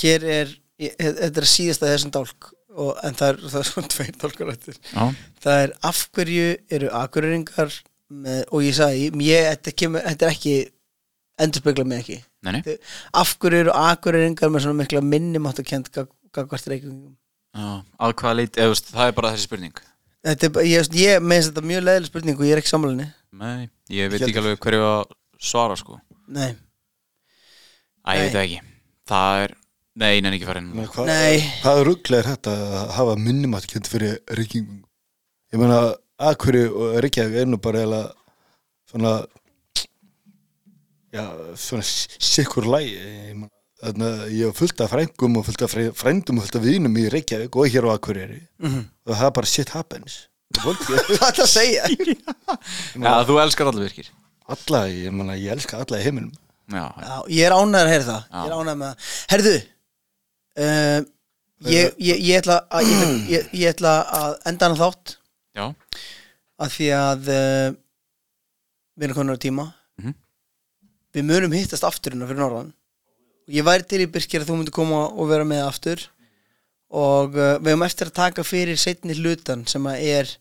hér er ég- þetta er síðasta þessum dálk og, en það er, það er svona tveir dálkur eftir
Já,
það er af hverju eru akureyringar með, og ég sagði, ég, þetta, kemur, þetta er ekki endurspegla mig ekki
nei, nei.
Þau- af hverju eru akureyringar með svona mikla minnumáttu kent gagvart reykingum
Já, að hvaða leit, eða þú veist, það er bara þessi spurning.
þetta er bara, ég, ég meðist þetta mjög leðileg spurning og ég er ekki sammálinni
Nei, ég veit
Ég
ekki
held-
alveg hverju að svara, sko.
nei,
Æ, ég
Nei.
veit það ekki. Það er, nei, neina ekki farin.
Men Hva,
Nei.
Hvað ruggl er þetta að hafa minnumatkjönd fyrir reykingum? Ég meina, Akuri og Reykjavík er nú bara eða svona já, svona sikkur lægi ég, meina, þarna, ég er fullt af frængum og fullt af fræ- frændum og fullt af vinum í Reykjavík og hér á Akuri og það er bara shit happens
[LAUGHS] hvað er það að segja
Já, þú elskar allir virkir.
[LAUGHS] alla, ég meina, ég elska alla í heiminum
Já, já.
[LAUGHS] Já, ég er ánæður að heyra það ég er
Já.
ánæður með það, herðu uh, ég, ég, ég ætla að ég, ætla- ég, ég ætla að enda hana þátt
já.
af því að uh, við erum konar á tíma
Mhm.
við munum hittast aftur hérna fyrir norðan og ég væri til í Birkir að þú myndir koma og vera með aftur og uh, við höfum eftir að taka fyrir setni hlutan sem að er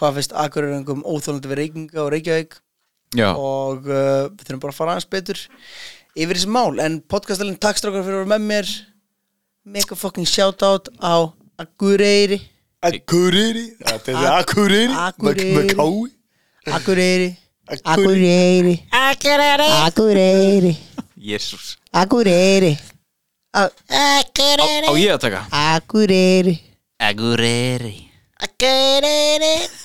hvað finnst akurörengum óþólandi við reykinga og reykjavík
Já,
og uh, við þurfum bara að fara aðeins betur yfir þessi mál en podcastalinn takk strákar fyrir að vera með mér make a fucking shout out á Akureyri
Akureyri, þetta er Akureyri
Akureyri.
með kái
Akureyri
Akureyri.
Akureyri Akureyri Oh.
jésús.
Akureyri A-
Á, á ég að taka.
Akureyri
Agureri.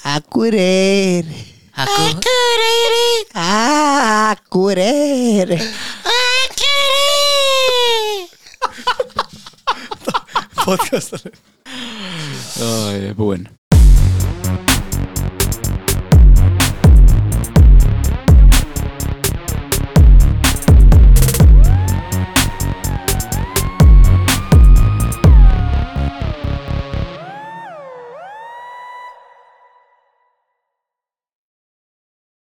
Akureyri Akureyri Akureyri Akureyri Podcastalinn
Já, ég er búinn.